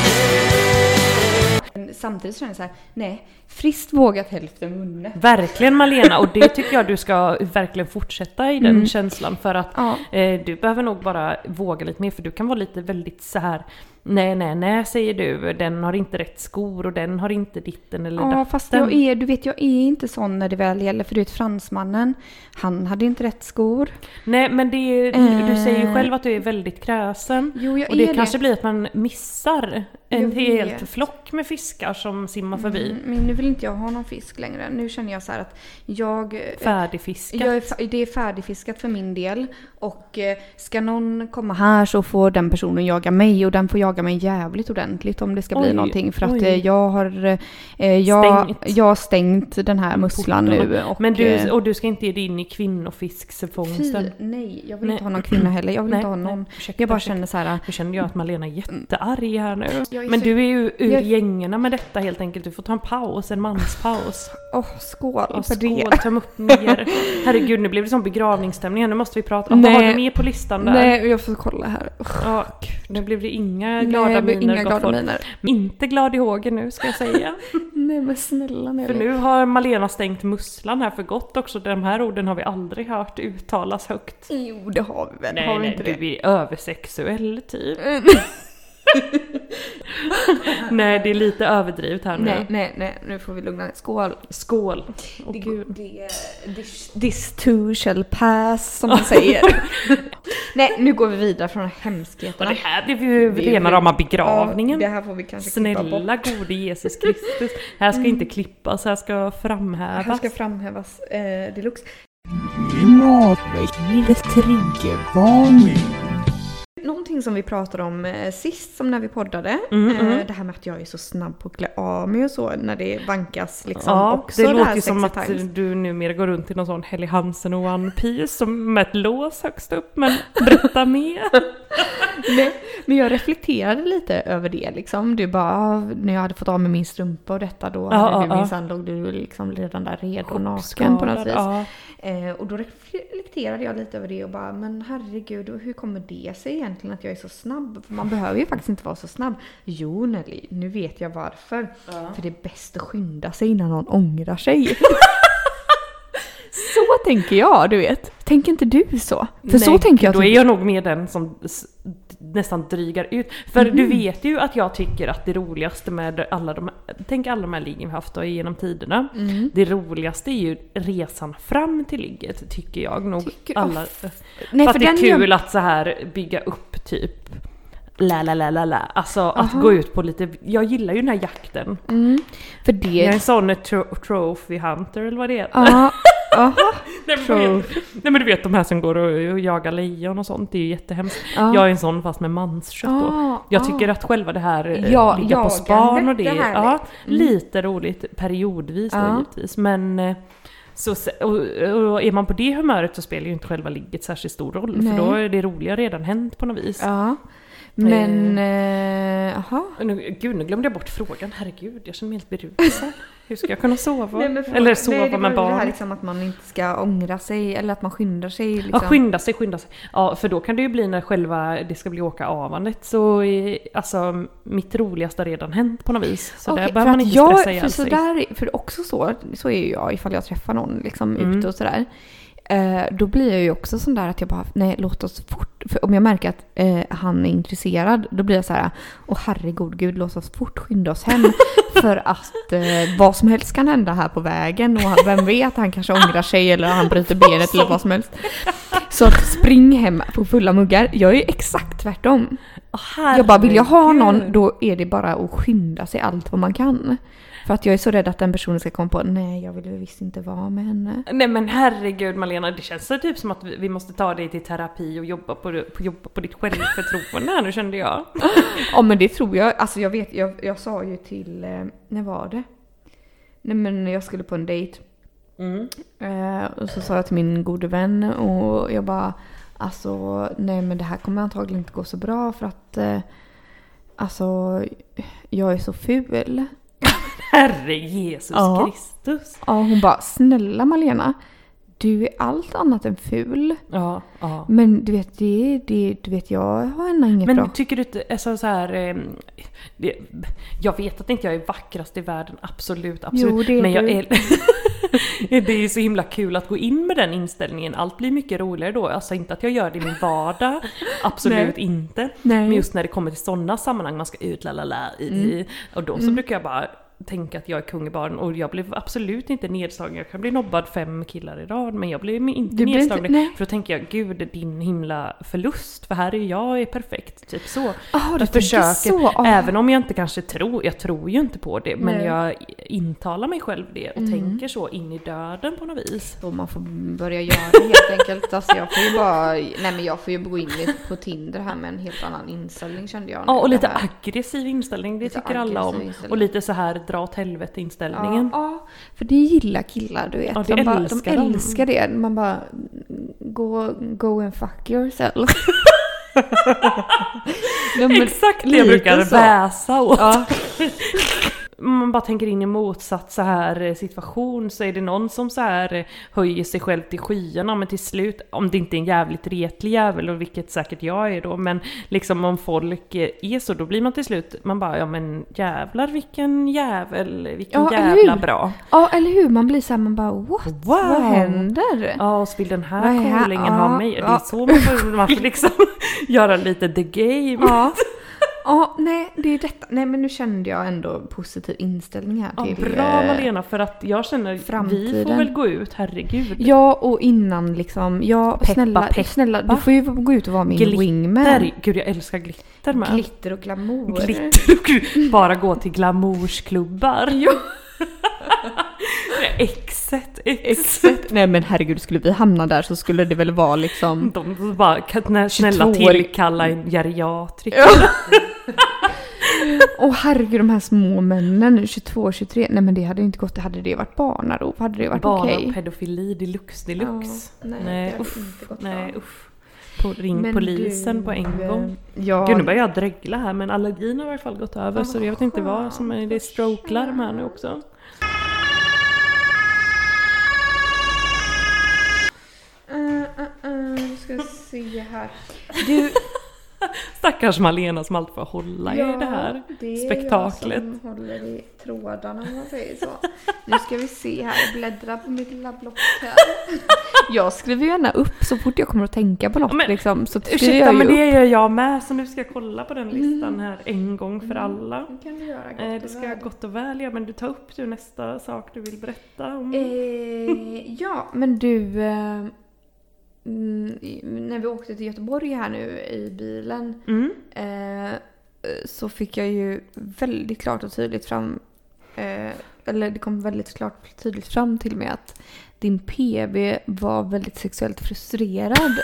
S4: nu.
S2: samtidigt känner jag så här, nej, friskt vågat hälften vunnet.
S1: Verkligen Malena och det tycker jag du ska verkligen fortsätta i den
S2: Mm.
S1: känslan för att
S2: Ja.
S1: eh, du behöver nog bara våga lite mer för du kan vara lite väldigt så här nej nej nej säger du, den har inte rätt skor och den har inte ditten eller
S2: Ja,
S1: datten.
S2: fast jag är, du vet, jag är inte sån när det väl gäller. För du vet, fransmannen, han hade inte rätt skor.
S1: Nej men det är, du säger ju själv att du är väldigt kräsen.
S2: Eh. Jo, jag
S1: Och det
S2: är
S1: kanske
S2: det.
S1: blir att man missar en
S2: Jag
S1: helt
S2: vet.
S1: flock med fiskar som simmar förbi.
S2: Mm, Men nu vill inte jag ha någon fisk längre. Nu känner jag så här att jag...
S1: Färdigfiskat.
S2: Jag är, fa- det är färdigfiskat för min del. Och eh, ska någon komma här så får den personen jaga mig. Och den får jaga mig jävligt ordentligt om det ska
S1: Oj,
S2: bli någonting. För att
S1: oj.
S2: eh, jag har, eh, jag,
S1: Stängt.
S2: jag har stängt den här musslan nu. Och,
S1: men du,
S2: eh,
S1: och du ska inte ge dig in i
S2: fy,
S1: kvinnofisksfångsten.
S2: nej. Jag vill
S1: Nej.
S2: inte ha någon kvinna heller. Jag vill
S1: Nej,
S2: inte ha någon.
S1: nej, ursäkta,
S2: jag bara
S1: ursäkta.
S2: känner så här.
S1: Nu känner jag att Malena är jättearg här nu.
S2: Jag är
S1: Men
S2: så-
S1: du är ju ur
S2: jag-
S1: gängorna med detta helt enkelt. Du får ta en paus, en manspaus.
S2: Åh, skål
S1: Och
S2: för det.
S1: skål, töm upp mer. Herregud, nu blev det som begravningsstämning här. Nu måste vi prata. Vad har
S2: Nej.
S1: du mer på listan där?
S2: Nej, jag får kolla här. Usch,
S1: Ja, gud, nu blev det inga
S2: Nej,
S1: glada
S2: det blev
S1: miner.
S2: inga
S1: gott
S2: glada
S1: folk.
S2: miner.
S1: Inte glad i hågen nu ska jag säga.
S2: Nej men snälla
S1: För
S2: Nelly.
S1: nu har Malena stängt musslan här för gott också. De här orden har vi aldrig hört uttalas högt.
S2: Jo, det har vi väl.
S1: Nej,
S2: har vi
S1: nej,
S2: inte
S1: du
S2: det?
S1: är översexuell typ.
S2: Mm.
S1: nej, det är lite överdrivet här nu.
S2: Nej, nej, nej. Nu får vi lugna ner Skål.
S1: Skål! Åh gud.
S2: Det, this, this too shall pass som man säger. Nej, nu går vi vidare från
S1: Och
S2: hemskheterna.
S1: det här blev ju
S2: Det är
S1: rena
S2: ju-
S1: rama begravningen.
S2: Ja, det här får vi kanske klippa bort.
S1: Snälla gode Jesus Kristus. Här ska inte klippas, här ska framhävas.
S2: Här ska framhävas eh, deluxe.
S3: Matväggivet triggervarning.
S2: Någonting som vi pratade om eh, sist, som när vi poddade.
S1: Mm, mm.
S2: Eh, det här med att jag är så snabb på att klä av mig och så när det vankas liksom
S1: Ja,
S2: också.
S1: det, låter
S2: här
S1: ju som
S2: sexy
S1: att
S2: times.
S1: du numera går runt i någon sån Helly Hansen och One Piece som med ett lås högst upp, men berätta mer.
S2: Nej, men jag reflekterade lite över det liksom. Du bara, ah, när jag hade fått av mig min strumpa och detta då
S1: Ja,
S2: hade
S1: ja,
S2: du
S1: ja.
S2: minsann låg du liksom redan där redo naken på något vis.
S1: Ja.
S2: Eh, och då reflekterade jag lite över det och bara, men herregud, och hur kommer det sig egentligen att jag är så snabb? För man behöver ju faktiskt inte vara så snabb. Jo Nelly, nu vet jag varför. För det är bäst att skynda sig innan någon ångrar sig. så tänker jag, du vet. Tänker inte du så? För så
S1: Nej,
S2: tänker jag.
S1: Då
S2: typ.
S1: är jag nog mer den som s- nästan drygar ut. För
S2: Mhm.
S1: du vet ju att jag tycker att det roligaste med alla de tänk alla de här liggen vi haft då genom tiderna.
S2: Mhm.
S1: Det roligaste är ju resan fram till ligget tycker jag nog.
S2: Tycker-
S1: alla,
S2: Nej,
S1: för att det är
S2: gör-
S1: kul att så här bygga upp typ la la la la la. Alltså att gå ut på lite, jag gillar ju den här jakten.
S2: Mm. För det...
S1: Jag är en sån tro- trophy hunter eller vad det heter.
S2: Ja, aha.
S1: Nej men, vad heter- nej men du vet de här som går och och jagar lejon och sånt, det är ju jättehemskt.
S2: Ja.
S1: Jag är en sån fast med manskött då.
S2: Ah,
S1: Jag
S2: ah.
S1: tycker att själva det här, eh,
S2: Ja,
S1: ligga på
S2: jagande,
S1: span och det,
S2: det är härligt.
S1: ja, lite roligt periodvis då
S2: Ja.
S1: givetvis. Men eh, så, se- och, och är man på det humöret så spelar ju inte själva ligget särskilt stor roll
S2: Nej.
S1: för då är det roliga redan hänt på något vis.
S2: Ja. Men, eh, aha.
S1: Nu, gud, nu glömde jag bort frågan. Herregud, jag känner mig helt berusad. Hur ska jag kunna sova? Eller sova
S2: nej, det var
S1: med
S2: ju
S1: barn?
S2: Det här liksom att man inte ska ångra sig eller att man skyndar sig. Liksom.
S1: Ja, skynda sig, skynda sig. Ja, för då kan det ju bli när själva det ska bli åka avandet så är, alltså mitt roligaste har redan hänt på något vis. Så
S2: Okej,
S1: där behöver
S2: för
S1: man
S2: att
S1: inte
S2: jag,
S1: stressa
S2: för
S1: ihjäl sig.
S2: sådär, För också så, så är ju jag ifall jag träffar någon liksom
S1: Mm.
S2: ute och sådär. Eh, då blir jag ju också sån där att jag bara, nej låt oss fort. För om jag märker att eh, han är intresserad, då blir jag så här, åh herregud gud låt oss fort skynda oss hem. för att eh, vad som helst kan hända här på vägen och han, vem vet, han kanske ångrar sig eller han bryter benet eller vad som helst. Så att spring hem på fulla muggar. Jag är ju exakt tvärtom.
S1: Åh,
S2: Jag bara, vill jag ha
S1: herregud.
S2: någon då är det bara att skynda sig allt vad man kan. För att jag är så rädd att den personen ska komma på nej jag vill ju visst inte vara med henne.
S1: Nej men herregud Malena, det känns så typ som att vi vi måste ta dig till terapi och jobba på, på, jobba på ditt självförtroende här nu kände jag.
S2: Ja men det tror jag. Alltså jag vet, jag, jag sa ju till, eh, när var det? Nej men jag skulle på en dejt. Eh, och så sa jag till min gode vän och jag bara alltså nej men det här kommer antagligen inte gå så bra för att eh, alltså jag är så ful.
S1: Herre Jesus
S2: Ja.
S1: Kristus.
S2: Ja, hon bara “Snälla Malena, du är allt annat än ful.
S1: Ja, ja.
S2: Men du vet, det, det, du vet jag har ändå inget
S1: Men
S2: bra.
S1: tycker du inte, alltså så här, eh, det, jag vet att inte jag är vackrast i världen, absolut, absolut.
S2: Jo, det är
S1: men jag
S2: du.
S1: är, det är ju så himla kul att gå in med den inställningen, allt blir mycket roligare då. Alltså inte att jag gör det i min vardag, absolut inte.
S2: Nej.
S1: Men just när det kommer till sådana sammanhang, man ska ut, la la la, i,
S2: Mm.
S1: i, och då så brukar jag bara tänka att jag är kung i baren och jag blev absolut inte nedslagen. Jag kan bli nobbad fem killar i rad men jag blev inte
S2: Du blir inte-
S1: nedslagen.
S2: nej.
S1: För då tänker jag, gud din himla förlust, för här är jag är perfekt. Typ så.
S2: Jaha, du
S1: jag
S2: tänker
S1: försöker,
S2: så. Ah.
S1: även om jag inte kanske tror, jag tror ju inte på det, men
S2: Nej. Mm.
S1: jag intalar mig själv det och tänker så in i döden på något vis.
S2: Och man får börja göra det helt enkelt. Alltså jag får ju bara, nej men jag får ju gå in lite på Tinder här med en helt annan inställning kände jag.
S1: Ja, och
S2: nu.
S1: lite
S2: Det här-
S1: aggressiv inställning, det
S2: Lite
S1: tycker alla
S2: aggressiv
S1: om.
S2: inställning.
S1: Och lite så här dra åt helvete
S2: Ja,
S1: inställningen.
S2: ja, för det gillar killar du vet.
S1: Ja, det
S2: de, bara, de
S1: älskar de.
S2: älskar det. Man bara, go, go and fuck yourself. Nej, men-
S1: Exakt det jag
S2: lite
S1: brukar
S2: så.
S1: väsa åt.
S2: Ja.
S1: Om man bara tänker in i motsatt så här eh, situation så är det någon som så här eh, höjer sig själv till skyarna men till slut, om det inte är en jävligt retlig jävel och vilket säkert jag är då men liksom om folk eh, är så då blir man till slut, man bara ja men jävlar vilken jävel, vilken
S2: Ja, eller
S1: jävla
S2: hur?
S1: bra.
S2: Ja, eller hur? Man blir såhär, man bara what? Vad händer?
S1: Ja, och så vill den
S2: Vad
S1: här
S2: är här?
S1: coolingen
S2: Ja,
S1: ha mig. Det är
S2: ja.
S1: så man får, man får liksom göra lite the game.
S2: Ja. Ja, nej, det är detta. Nej, men nu kände jag ändå positiv inställning här
S1: Ja,
S2: till...
S1: bra
S2: eh,
S1: Malena, för att jag känner vi får
S2: framtiden.
S1: väl gå ut, herregud.
S2: Ja, och innan liksom. Ja,
S1: Peppa,
S2: snälla,
S1: peppa.
S2: snälla, du får ju gå ut och vara min wingman.
S1: Glitter, gud jag älskar glitter med.
S2: Glitter och glamour.
S1: Glitter, gud, bara gå till glamoursklubbar. Ja. Exet, exet.
S2: Exakt. Nej men herregud, skulle vi hamna där så skulle det väl vara liksom...
S1: De bara, kan, nä- snälla
S2: 22
S1: tillkalla en geriatriker.
S2: Åh herregud, de här små männen, 22, 23. Nej men det hade ju inte gått. Hade det varit barnarop hade det varit
S1: Barn
S2: okej.
S1: och pedofili deluxe deluxe.
S2: Ja, nej, det hade inte gått
S1: nej
S2: bra.
S1: usch. På, ring
S2: Men
S1: polisen
S2: du,
S1: på en
S2: eh,
S1: gång.
S2: Ja.
S1: Gud nu börjar jag dregla här men allergin har i alla fall gått över
S2: Ja,
S1: så jag vet inte vad som är, det är
S2: skönt.
S1: stroke-larm här nu också.
S2: Eh, eh, eh, nu ska jag se här. Du,
S1: Stackars Malena som alltid får hålla i det här
S2: det är
S1: spektaklet.
S2: jag som håller i trådarna om man säger så. Nu ska vi se här, jag bläddrar på mitt lilla block här. Jag skriver ju gärna upp så fort jag kommer att tänka på något
S1: Men,
S2: liksom. Så skriver
S1: Ursäkta
S2: jag ju
S1: men
S2: upp.
S1: det gör jag Mm. med så nu ska jag kolla på den listan här en gång för alla.
S2: Det kan du göra gott
S1: Eh,
S2: och
S1: det ska
S2: väl.
S1: jag gott och väl göra men du tar upp du nästa sak du vill berätta om.
S2: Eh, ja, men du... Eh, mm, i- när vi åkte till Göteborg här nu i bilen
S1: Mm.
S2: eh, så fick jag ju väldigt klart och tydligt fram... Eh, eller det kom väldigt klart och tydligt fram till mig att din PB var väldigt sexuellt frustrerad.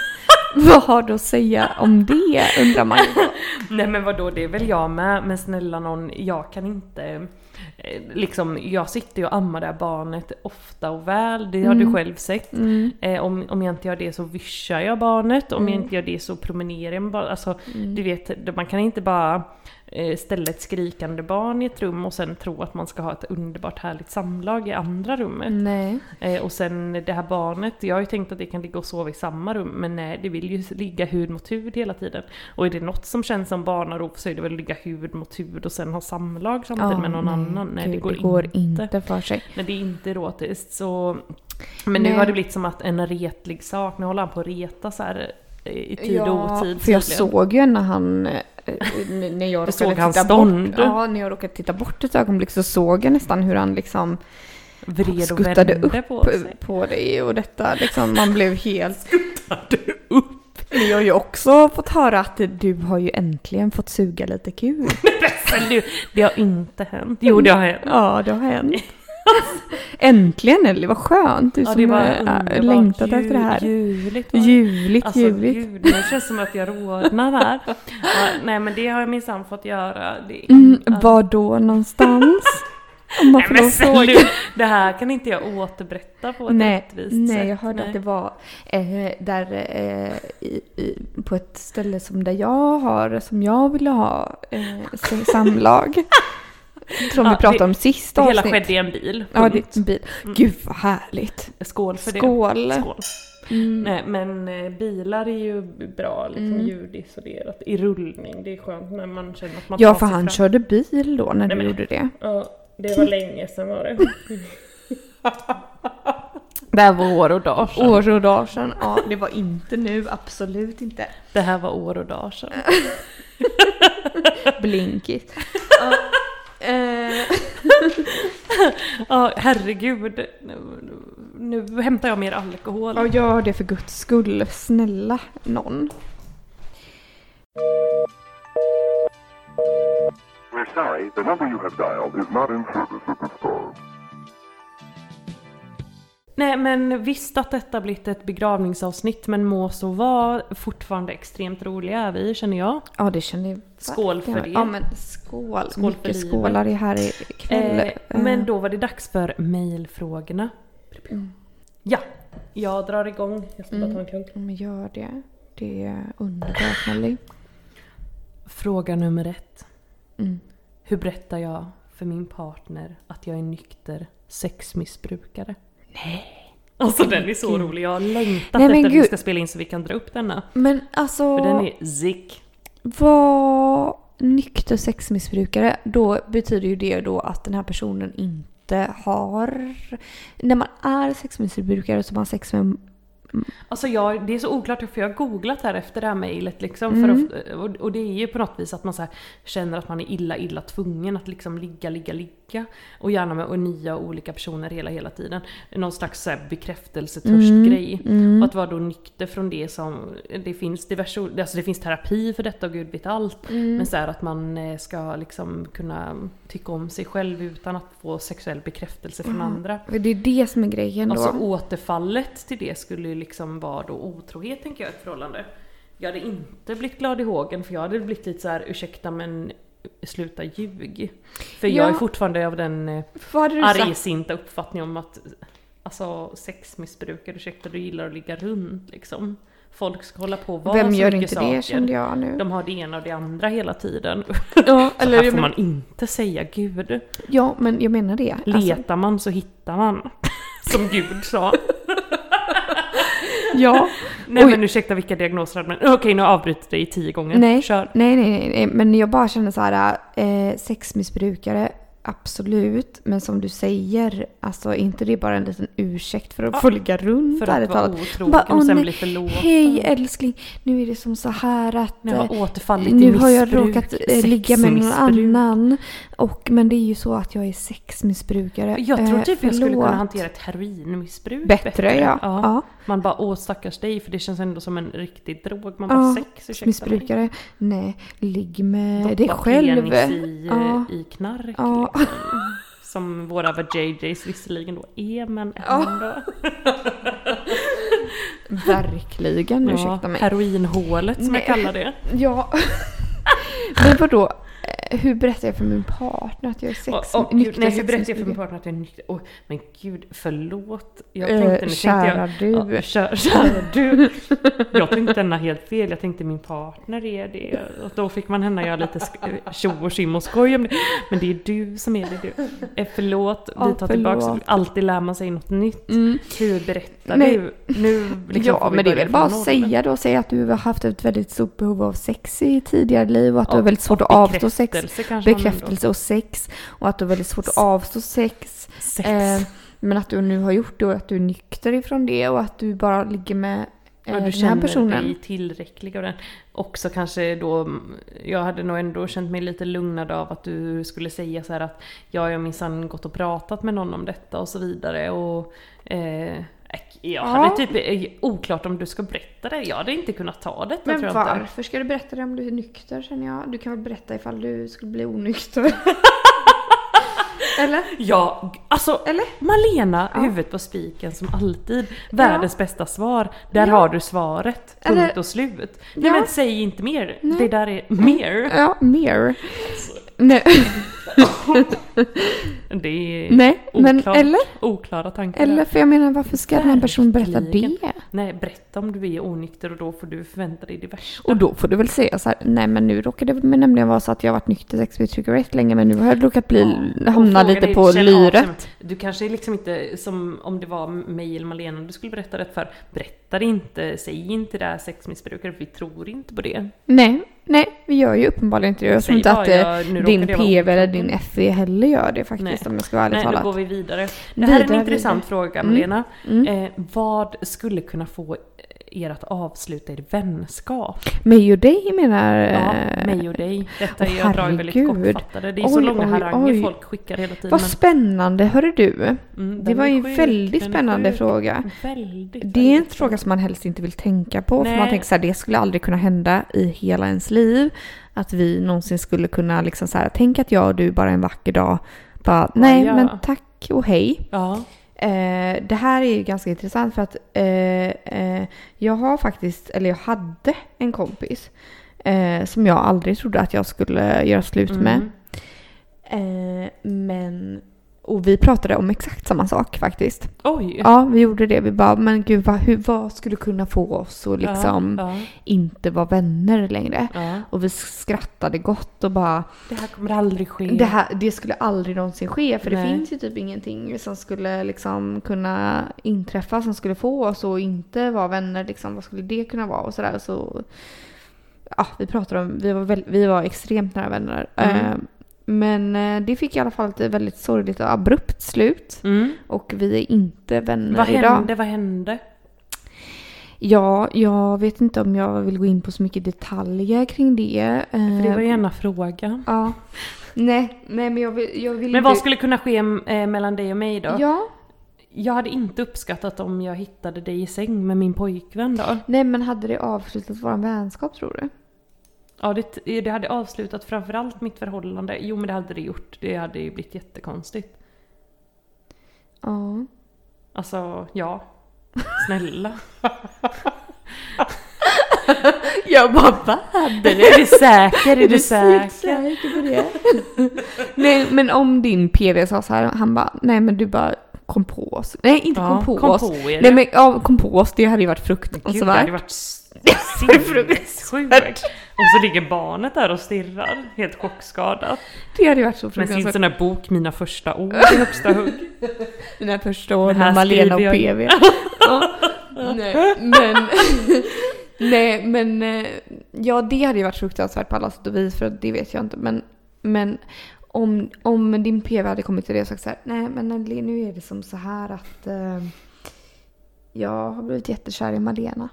S2: Vad har du att säga om det undrar man ju. då.
S1: Nej men vadå, det är väl jag med. Men snälla någon, jag kan inte... eh, Liksom, jag sitter ju och ammar det här barnet ofta och väl, det har du själv sett. Eh, om, om jag inte gör det så vischar jag barnet, om jag inte gör det så promenerar jag med barnet. Alltså, du vet, man kan inte bara eh, ställa ett skrikande barn i ett rum och sen tro att man ska ha ett underbart härligt samlag i andra rummet.
S2: Nej.
S1: Eh, och sen det här barnet, jag har ju tänkt att det kan ligga och sova i samma rum men nej, det vill ju ligga hud mot hud hela tiden. Och är det något som känns som barnarop så är det väl att ligga hud mot hud och sen ha samlag samtidigt med någon
S2: nej,
S1: annan. Nej,
S2: gud,
S1: det, går
S2: inte.
S1: inte.
S2: för sig.
S1: Nej, det är inte erotiskt så... Men nu
S2: Nej.
S1: har det blivit som att en retlig sak, nu håller han på att reta så här eh, i tid och otid
S2: för jag
S1: tydligen.
S2: såg ju när han... eh, n- När jag råkade
S1: såg hans
S2: titta
S1: stånd.
S2: bort, ja, när jag råkade titta bort ett ögonblick så såg jag nästan hur han liksom
S1: Vred och
S2: skuttade
S1: vände
S2: upp
S1: på sig.
S2: på dig och detta liksom, man blev helt... Skuttade upp? Jag har ju också fått höra att du har ju äntligen fått suga lite kul.
S1: Men du, det har inte hänt. Jo det har hänt.
S2: Ja, det har hänt. Äntligen Ellie, vad skönt! Du
S1: Ja,
S2: som
S1: det var
S2: har äh,
S1: underbart.
S2: längtat efter det
S1: Ju-
S2: här.
S1: Ljuvligt var det.
S2: Ljuvligt,
S1: Alltså
S2: ljuvligt.
S1: gud, det känns som att jag rodnar här. Ja, nej men det har jag minsann fått göra. Det är
S2: Mm,
S1: ja.
S2: var då någonstans? Om man
S1: Nej
S2: får lov
S1: men
S2: att fråga.
S1: sluta! Det här kan inte jag återberätta på ett
S2: Nej,
S1: rättvist sätt.
S2: nej, jag hörde att det
S1: var...
S2: var eh, där eh, i, i, på ett ställe som där jag har, som jag ville ha eh, se- samlag. som
S1: Ja,
S2: vi
S1: det-
S2: pratade om sista
S1: Det hela
S2: avsnittet.
S1: skedde Mm. i en bil.
S2: Ja,
S1: punkt.
S2: det är en bil. Gud vad härligt.
S1: Skål för
S2: Skål. Mm.
S1: det. Skål. Nej, men eh, bilar är ju bra liksom ljudisolerat i rullning. Det är skönt när man känner att man
S2: Ja,
S1: tar
S2: för
S1: sig
S2: han
S1: fram.
S2: körde bil då när du
S1: men-
S2: gjorde det.
S1: Ja, det var länge sedan var det.
S2: Det här var år och dagar sedan. År och dagar sedan. Ja, det var inte nu. Absolut inte.
S1: Det här var år och dagar sedan.
S2: Blinkigt.
S1: eh, Ja, herregud. Nu, nu hämtar jag mer alkohol.
S2: Ja, gör det för guds skull. Snälla någon.
S5: We're sorry, the number you have dialed is not in service at this time.
S1: Nej, men visst att detta blivit ett begravningsavsnitt, men må så vara. Fortfarande extremt roliga är vi, känner jag.
S2: Ja, det känner jag.
S1: Skål för det.
S2: Ja, men skål.
S1: Skål för
S2: Mycket
S1: livet.
S2: skålar är här ikväll.
S1: Eh, men då var det dags för mejlfrågorna. Ja, jag drar igång. Jag ska bara
S2: Mm.
S1: ta en klunk.
S2: Ja, men gör det. Det är underbart Nelly.
S1: Fråga nummer ett.
S2: Mm.
S1: Hur berättar jag för min partner att jag är nykter sexmissbrukare? Nej! Alltså den är så rolig, jag har längtat
S2: Nej, men
S1: efter att vi
S2: gud.
S1: ska spela in så vi kan dra upp denna.
S2: Men alltså,
S1: För den är zick.
S2: vad nykter sexmissbrukare, då betyder ju det då att den här personen inte har... När man är sexmissbrukare så har man sex med...
S1: Alltså jag, det är så oklart för jag har googlat här efter det här mejlet liksom. För att, och, och det är ju på något vis att man så här känner att man är illa, illa tvungen att liksom ligga, ligga, ligga. Och gärna med och nya och olika personer hela, hela tiden. Någon slags så här bekräftelsetörstgrej. Och att vara då nykter från det som, det finns diverse, o- alltså det finns terapi för detta och gud vet allt. Men så här att man eh, ska liksom kunna tycka om sig själv utan att få sexuell bekräftelse från andra.
S2: Det är det som är grejen då.
S1: Alltså återfallet till det skulle ju liksom vara då otrohet tänker jag i ett förhållande. Jag hade inte blivit glad i hågen för jag hade blivit lite så här: ursäkta men sluta ljug. För jag
S2: Ja.
S1: är fortfarande av den eh,
S2: vad hade du sagt?
S1: argsinta uppfattningen om att alltså sexmissbrukare, ursäkta du gillar att ligga runt liksom. Folk ska hålla på och vara
S2: Vem
S1: så
S2: gör
S1: mycket
S2: inte det kände jag nu.
S1: De har det ena och det andra hela tiden.
S2: Ja,
S1: så
S2: eller
S1: här
S2: jag
S1: får
S2: men-
S1: man inte säga gud.
S2: Ja, men jag menar det. Alltså,
S1: Letar man så hittar man. Som Gud sa.
S2: ja.
S1: Nej
S2: Oj.
S1: men ursäkta vilka diagnoser hade man? Okej nu har jag avbrutit dig tio gånger.
S2: Nej.
S1: Kör.
S2: Nej, nej, nej, nej, men jag bara känner så här, eh, sexmissbrukare, absolut. Men som du säger, alltså är inte det bara en liten ursäkt för att få ligga runt?
S1: För att
S2: ärligt
S1: vara
S2: talat?
S1: otrogen
S2: Bara,
S1: och
S2: "Åh,
S1: sen
S2: nej,
S1: bli förlåten."
S2: Hej älskling, nu är det som så här att
S1: Nu har
S2: eh,
S1: jag återfallit i
S2: nu har jag
S1: missbruk,
S2: råkat eh, ligga med någon
S1: sexmissbruk.
S2: annan. Och, men det är ju så att jag är sexmissbrukare.
S1: Jag tror
S2: Eh,
S1: typ jag skulle kunna
S2: förlåt.
S1: hantera ett heroinmissbruk
S2: Bättre, ja. Ja.
S1: Man bara åh stackars dig för det känns ändå som en riktig drog. Man bara
S2: Ja,
S1: sex ursäkta mig.
S2: Missbrukare? Nej, ligg med dig
S1: Doppa
S2: själv.
S1: penis i, eh,
S2: Ja.
S1: i knark
S2: Ja.
S1: liksom. Som våra vad JJs visserligen då är men ändå.
S2: Verkligen, ursäkta mig.
S1: heroinhålet som
S2: Nej.
S1: jag kallar det.
S2: Ja. Men vadå? Eh, Hur berättar jag för min partner att jag är sex,
S1: Och, och, gud,
S2: nykter
S1: nej, hur berättade jag för min
S2: sexmissbrukare?
S1: partner att jag är nykter? Åh, men gud, förlåt. Jag
S2: Eh,
S1: tänkte, nu
S2: kära
S1: tänkte jag,
S2: du.
S1: Ja, liksom, kära, kära du. Jag tänkte denna helt fel. Jag tänkte min partner är det. Och då fick man henne göra lite sk- tjo och tjim och skoj om det. Men det är du som är det du. Eh, förlåt,
S2: Ja,
S1: vi tar tillbaka.
S2: förlåt. Mm.
S1: Alltid lär man sig något nytt. Hur berättar
S2: Nej.
S1: du? Nu liksom får
S2: Ja,
S1: vi
S2: men det är
S1: börja
S2: väl bara att
S1: från noll.
S2: säga då. Säga att du har haft ett väldigt stort behov av sex i tidigare liv och att du har
S1: Och-
S2: väldigt svårt
S1: och
S2: att avstå sex.
S1: bekräftelse kanske man ändå-
S2: Bekräftelse och sex. Och att du har väldigt svårt att avstå sex.
S1: Sex.
S2: Eh, men att du nu har gjort det och att du är nykter ifrån det och att du bara ligger med eh,
S1: Ja, du
S2: den här
S1: känner
S2: personen.
S1: dig tillräcklig av den. Också kanske då, mm, jag hade nog ändå känt mig lite lugnad av att du skulle säga så här att ja, jag har minsann gått och pratat med någon om detta och så vidare och eh, jag hade typ eh, oklart om du ska berätta det. Jag hade inte kunnat ta detta
S2: Men
S1: tror jag inte.
S2: varför ska du berätta det om du är nykter känner jag? Du kan väl berätta ifall du skulle bli onykter? Eller?
S1: Ja, g- alltså
S2: Eller?
S1: Malena, huvudet på spiken som alltid. Världens bästa svar. Där har du svaret. Punkt
S2: Eller-
S1: och slut. Nej
S2: Ja.
S1: men säg inte mer. Det där är mer.
S2: Ja, mer. Nej,
S1: Det är
S2: Nej, men
S1: oklart-
S2: eller?
S1: oklara tankar.
S2: eller för jag menar varför ska den här personen berätta det?
S1: Verkligen. Nej, berätta om du är onykter och då får du förvänta dig det värsta.
S2: Och då får du väl säga så här, nej men nu råkade det väl nämligen vara så att jag har varit nykter sex vid rätt länge men nu har jag råkat bli, hamna
S1: Fråga
S2: lite
S1: dig,
S2: på
S1: känn av sig.
S2: lyret.
S1: Du kanske liksom inte, som om det var mig eller Malena du skulle berätta det för, berätta det inte, säg inte det här sexmissbrukare, för vi tror inte på det.
S2: Nej, nej, vi gör ju uppenbarligen inte det. Jag tror
S1: Säg
S2: inte
S1: bara,
S2: att eh,
S1: jag- nu råkade
S2: din
S1: jag vara
S2: PV eller din FE heller gör det faktiskt
S1: Nej.
S2: om jag ska vara ärligt
S1: Nej, nu går
S2: talad.
S1: vi vidare. Det här är en
S2: Vidare,
S1: intressant fråga Malena.
S2: Mm.
S1: Eh, vad skulle kunna få er att avsluta er vänskap?
S2: Mig och dig menar...
S1: Ja,
S2: eh,
S1: mig och dig. Detta är
S2: åh,
S1: jag drar ju väldigt
S2: herregud.
S1: kortfattade. Det är så
S2: Oj,
S1: långa
S2: oj,
S1: haranger
S2: oj.
S1: folk skickar hela tiden.
S2: Vad
S1: men-
S2: spännande, hörru du.
S1: Mm,
S2: Det
S1: den
S2: var
S1: är
S2: ju
S1: sjuk,
S2: väldigt
S1: den är
S2: spännande
S1: sjuk.
S2: fråga.
S1: Väldigt,
S2: Det är en
S1: väldigt
S2: fråga som man helst inte vill tänka på. För
S1: Nej.
S2: man tänker så här, det skulle aldrig kunna hända i hela ens liv. Att vi någonsin skulle kunna liksom så här, tänk att jag och du bara en vacker dag bara, nej
S1: ja.
S2: men tack och hej.
S1: Ja,
S2: Eh, det här är ju ganska intressant för att eh, eh, jag har faktiskt, eller jag hade en kompis eh, som jag aldrig trodde att jag skulle göra slut med.
S1: Mm.
S2: Eh, men, och vi pratade om exakt samma sak faktiskt.
S1: Oj.
S2: Ja, vi gjorde det. Vi bara, men gud vad, hur, vad skulle kunna få oss att liksom
S1: Ja, ja,
S2: inte vara vänner längre?
S1: ja.
S2: Och vi skrattade gott och bara,
S1: Det här kommer aldrig ske.
S2: det, här, det skulle aldrig någonsin ske för
S1: Mm. Nej.
S2: det finns ju typ ingenting som skulle liksom kunna inträffa som skulle få oss att inte vara vänner. Liksom, vad skulle det kunna vara? Och sådär. Så, ja, vi pratade om, vi var, väl, vi var extremt nära vänner.
S1: Mm.
S2: Eh, men eh, det fick i alla fall ett väldigt sorgligt och abrupt slut.
S1: Mm.
S2: Och vi är inte vänner
S1: Vad
S2: idag.
S1: hände? Vad hände?
S2: Ja, jag vet inte om jag vill gå in på så mycket detaljer kring det.
S1: För det var ju
S2: Eh,
S1: ena frågan.
S2: Ja. Nej, nej men jag vill, jag vill
S1: Men
S2: inte...
S1: vad skulle kunna ske eh, mellan dig och mig då?
S2: Ja,
S1: Jag hade inte uppskattat om jag hittade dig i säng med min pojkvän då.
S2: nej men hade det avslutat vår vänskap tror du?
S1: Ja, det, det hade avslutat framförallt mitt förhållande. Jo, men det hade det gjort. Det hade ju blivit jättekonstigt.
S2: Ja.
S1: Alltså, ja. Snälla.
S2: Jag bara va?
S1: är du säker? Är du säker?
S2: säker på det? nej men om din PV sa så här, han bara nej men du bara kom på oss. Nej inte
S1: Ja,
S2: kom på
S1: kom
S2: oss.
S1: på er.
S2: nej men ja, kom på oss, det hade ju varit alltså,
S1: Gud, det hade
S2: fruktansvärt.
S1: varit s- sinnessjukt. Och så ligger barnet där och stirrar, helt chockskadat.
S2: Det hade ju varit så
S1: Med sin
S2: fruktansvärt.
S1: sån här bok, Mina första ord i högsta hugg.
S2: Mina första år
S1: Det här
S2: med Malena och
S1: skriver
S2: PV. ja. Nej, men... Nej, men... eh, Ja, det hade ju varit fruktansvärt på alla sätt och vis, för det vet jag inte. Men, men om, om din PV hade kommit till dig och sagt så här, nej men Nelly, nu är det som så här att eh, jag har blivit jättekär i Malena.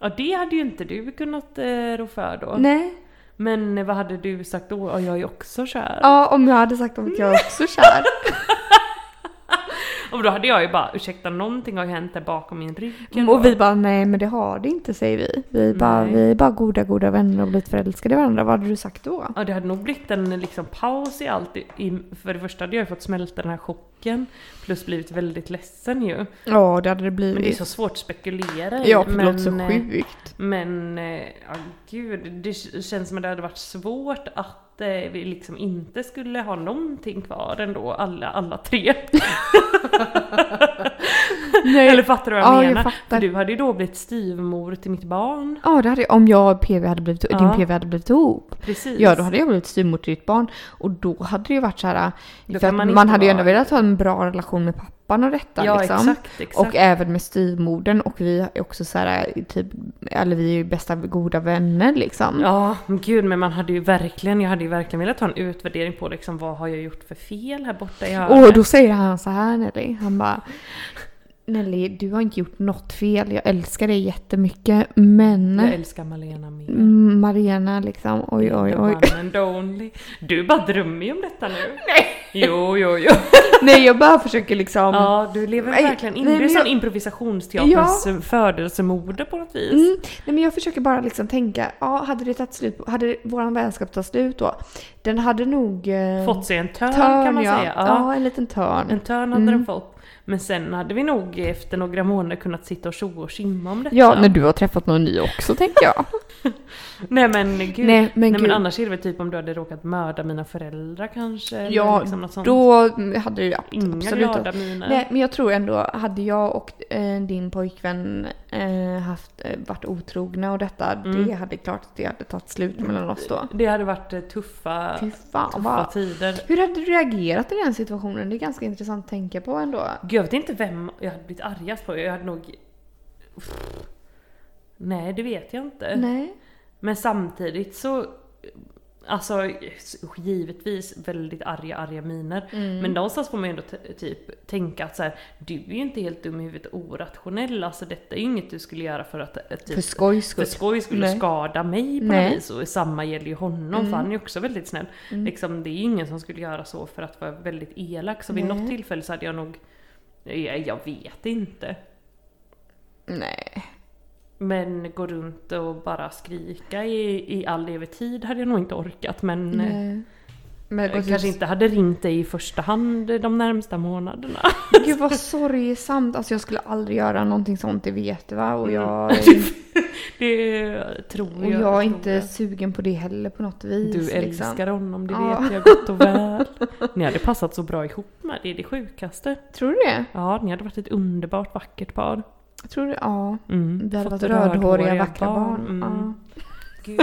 S1: Ja, det hade ju inte du kunnat eh, rå för då.
S2: Nej.
S1: Men eh, vad hade du sagt då? Ja, jag är också kär.
S2: Ja, om jag hade sagt att jag också är kär.
S1: Och då hade jag ju bara, ursäkta någonting har ju hänt där bakom min rygg. ändå.
S2: Mm, Och vi bara, nej men det har det inte, säger vi. Vi bara,
S1: Nej.
S2: vi är bara goda, goda vänner och blivit förälskade i varandra. Vad hade du sagt då?
S1: Ja, det hade nog blivit en liksom paus i allt. I- I, för det första hade jag ju fått smälta den här chocken. Plus blivit väldigt ledsen ju.
S2: Ja, det hade det blivit.
S1: Men det är så svårt att spekulera i,
S2: Ja, för det låter så
S1: eh,
S2: sjukt.
S1: Men eh, ja, gud, det k- känns som att det hade varit svårt att eh, vi liksom inte skulle ha någonting kvar ändå, alla, alla tre. Eller fattar du vad jag
S2: Ja, jag
S1: menar?
S2: fattar.
S1: För du hade ju då blivit styvmor till mitt barn.
S2: Ja, det hade, om jag och PV hade blivit,
S1: Ja.
S2: din PV hade blivit ihop.
S1: Precis.
S2: Ja, då hade jag blivit styvmor till ditt barn. Och då hade det ju varit så här...
S1: Då
S2: För
S1: kan
S2: att
S1: man
S2: man,
S1: inte
S2: hade ju ändå
S1: vara-
S2: velat ha en bra relation med pappan och detta.
S1: Ja,
S2: liksom.
S1: exakt, exakt.
S2: Och även med styvmodern. Och vi är också så här, typ, eller vi är ju bästa goda vänner liksom.
S1: Ja, men gud men man hade ju verkligen, jag hade ju verkligen velat ha en utvärdering på liksom vad har jag gjort för fel här borta i
S2: Och
S1: hörnet?
S2: då säger han så här Nelly, han bara Nelly, du har inte gjort något fel. Jag älskar dig jättemycket, men
S1: Jag älskar Malena mer.
S2: Mm, Mariana liksom, oj oj
S1: The
S2: oj.
S1: one and only. Du bara drömmer ju om detta nu. Nej! Jo, jo, jo.
S2: Nej jag bara försöker liksom.
S1: Ja, du lever
S2: Nej,
S1: verkligen in.
S2: nej,
S1: du är
S2: men
S1: sån
S2: jag-
S1: improvisationsteaterns födelsemoder på något vis.
S2: Mm, nej men jag försöker bara liksom tänka, ja hade det tagit slut, hade våran vänskap tagit slut då? Den hade nog... Eh,
S1: Fått sig en törn,
S2: törn,
S1: kan man
S2: ja.
S1: säga.
S2: Ja. Mm.
S1: Ja.
S2: en liten törn.
S1: En törn hade den fått. Men sen hade vi nog efter några månader kunnat sitta och tjoa och simma om detta.
S2: Ja, när du har träffat någon ny också tänker jag.
S1: Nej men gud.
S2: Nej,
S1: Nej,
S2: men
S1: men,
S2: gud.
S1: annars är det väl typ om du hade råkat mörda mina föräldrar kanske. eller
S2: Ja,
S1: liksom något sånt.
S2: Då hade du ab-
S1: Inga
S2: absolut...
S1: glada miner.
S2: Nej, men jag tror ändå, hade jag och eh, din pojkvän eh, haft, eh, varit otrogna och detta,
S1: Mm.
S2: det hade klart att det hade tagit slut mellan oss då.
S1: Det hade varit eh, tuffa,
S2: Fy fan
S1: tuffa
S2: vad...
S1: tider.
S2: Hur hade du reagerat i den situationen? Det är ganska intressant att tänka på ändå.
S1: Gud, jag vet inte vem jag hade blivit argast på. Jag hade nog... Pff. Nej, det vet jag inte.
S2: Nej.
S1: Men samtidigt så... Alltså givetvis väldigt arga, arga miner.
S2: Mm.
S1: Men någonstans får man ju ändå t- typ tänka att så här, du är ju inte helt dum i huvudet orationell. Alltså detta är ju inget du skulle göra för att... eh, Typ,
S2: För skojs
S1: för
S2: skull.
S1: skoj skulle
S2: Nej.
S1: skada mig på
S2: Nej. Mm.
S1: något vis och samma gäller ju honom för han är ju också väldigt snäll. Liksom, det är ju ingen som skulle göra så för att vara väldigt elak så vid
S2: Nej.
S1: något tillfälle så hade jag nog, jag, jag vet inte.
S2: Nej.
S1: Men gå runt och bara skrika i, i all evig tid hade jag nog inte orkat men eh,
S2: Nej. Men alltså,
S1: jag kanske inte hade ringt dig i första hand de närmsta månaderna.
S2: Gud vad sorgesamt. Alltså jag skulle aldrig göra någonting sånt, det vet du va?
S1: Mm.
S2: Och jag,
S1: Det tror
S2: och
S1: jag. tror
S2: jag är inte sugen på det heller på något vis.
S1: Du
S2: liksom.
S1: älskar honom, det
S2: Ja.
S1: vet jag gott och väl. Ni hade passat så bra ihop med, det är det sjukaste.
S2: Tror du det?
S1: Ja, ni hade varit ett underbart vackert par.
S2: Tror du? Ja.
S1: Mm.
S2: Vi hade
S1: Fått Mm.
S2: varit rödhåriga, vackra barn. Ja.
S1: Gud.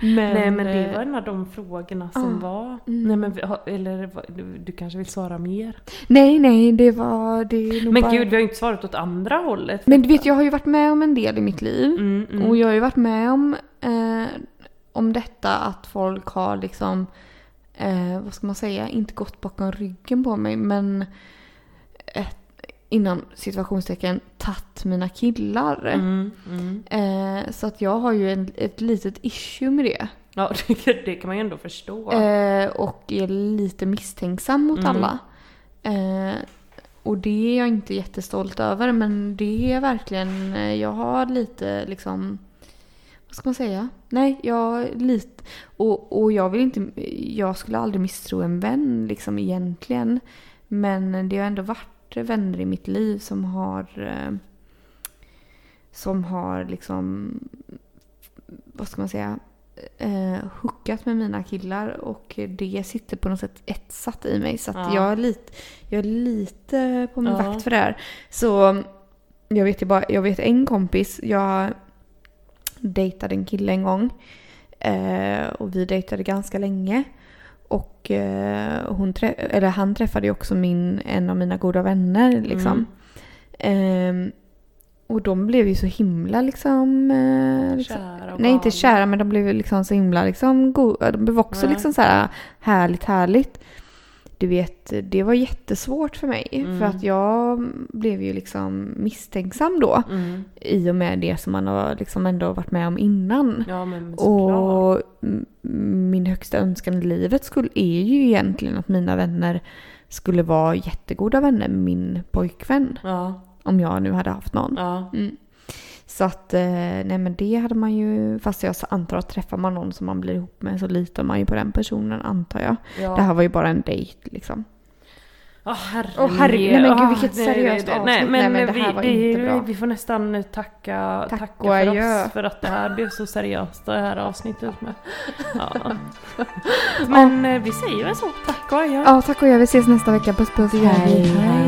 S2: Men, eh,
S1: Nej men eh, det var en av de frågorna som
S2: ah,
S1: var.
S2: mm.
S1: Nej men vi har- eller vad- du, du kanske vill svara mer?
S2: Nej, nej, det var... Det är nog
S1: Men
S2: bara...
S1: gud vi har ju inte svarat åt andra hållet.
S2: Men du vet, jag har ju varit med om en del i mitt liv.
S1: Mm, mm.
S2: Och jag har ju varit med om, eh, om detta att folk har liksom, eh, vad ska man säga, inte gått bakom ryggen på mig men eh, inom situationstecken tatt mina killar.
S1: Mm, mm.
S2: Eh, så att jag har ju en, ett litet issue med det.
S1: Ja det, det kan man ju ändå förstå.
S2: Eh, och är lite misstänksam mot
S1: Mm.
S2: alla. Eh, och det är jag inte jättestolt över men det är verkligen, eh, jag har lite liksom, vad ska man säga? Nej, jag lite, och, och jag vill inte, jag skulle aldrig misstro en vän liksom egentligen. Men det har ändå varit vänner i mitt liv som har, eh, som har liksom, vad ska man säga? eh, hookat med mina killar och det sitter på något sätt etsat i mig. Så att
S1: Ja.
S2: jag, är lite, jag är lite på min
S1: Ja.
S2: vakt för det här. Så jag vet ju bara, jag vet en kompis, jag dejtade en kille en gång. Eh, och vi dejtade ganska länge. Och eh, hon trä- eller han träffade ju också min, en av mina goda vänner liksom.
S1: Mm.
S2: Ehm, och de blev ju så himla liksom... Eh, liksom
S1: Kära och
S2: Nej inte
S1: galna.
S2: kära men de blev ju liksom så himla liksom goda. De blev också
S1: Ja.
S2: liksom så här härligt härligt. Du vet det var jättesvårt för mig
S1: Mm.
S2: för att jag blev ju liksom misstänksam då.
S1: Mm.
S2: I och med det som man har liksom ändå varit med om innan.
S1: Ja men såklart.
S2: Och m- min högsta önskan i livet skulle, är ju egentligen att mina vänner skulle vara jättegoda vänner med min pojkvän.
S1: Ja,
S2: Om jag nu hade haft någon.
S1: ja.
S2: Så att, eh, nej men det hade man ju, fast jag antar att träffar man någon som man blir ihop med så litar man ju på den personen antar jag.
S1: ja.
S2: Det här var ju bara en dejt liksom.
S1: Åh herregud.
S2: Åh, herregud. Nej, men gud, vilket
S1: nej, nej,
S2: seriöst
S1: nej,
S2: avsnitt.
S1: Nej, men,
S2: Nej, men
S1: vi,
S2: det här var
S1: är-
S2: inte bra.
S1: Vi får nästan tacka,
S2: Tack
S1: tacka
S2: och
S1: för
S2: adjö.
S1: oss för att det här blev så seriöst det här avsnittet med. Ja. Men eh, vi säger väl så. Tack och adjö.
S2: Ja tack och jag, vi ses nästa vecka. Puss puss. Hej. hej.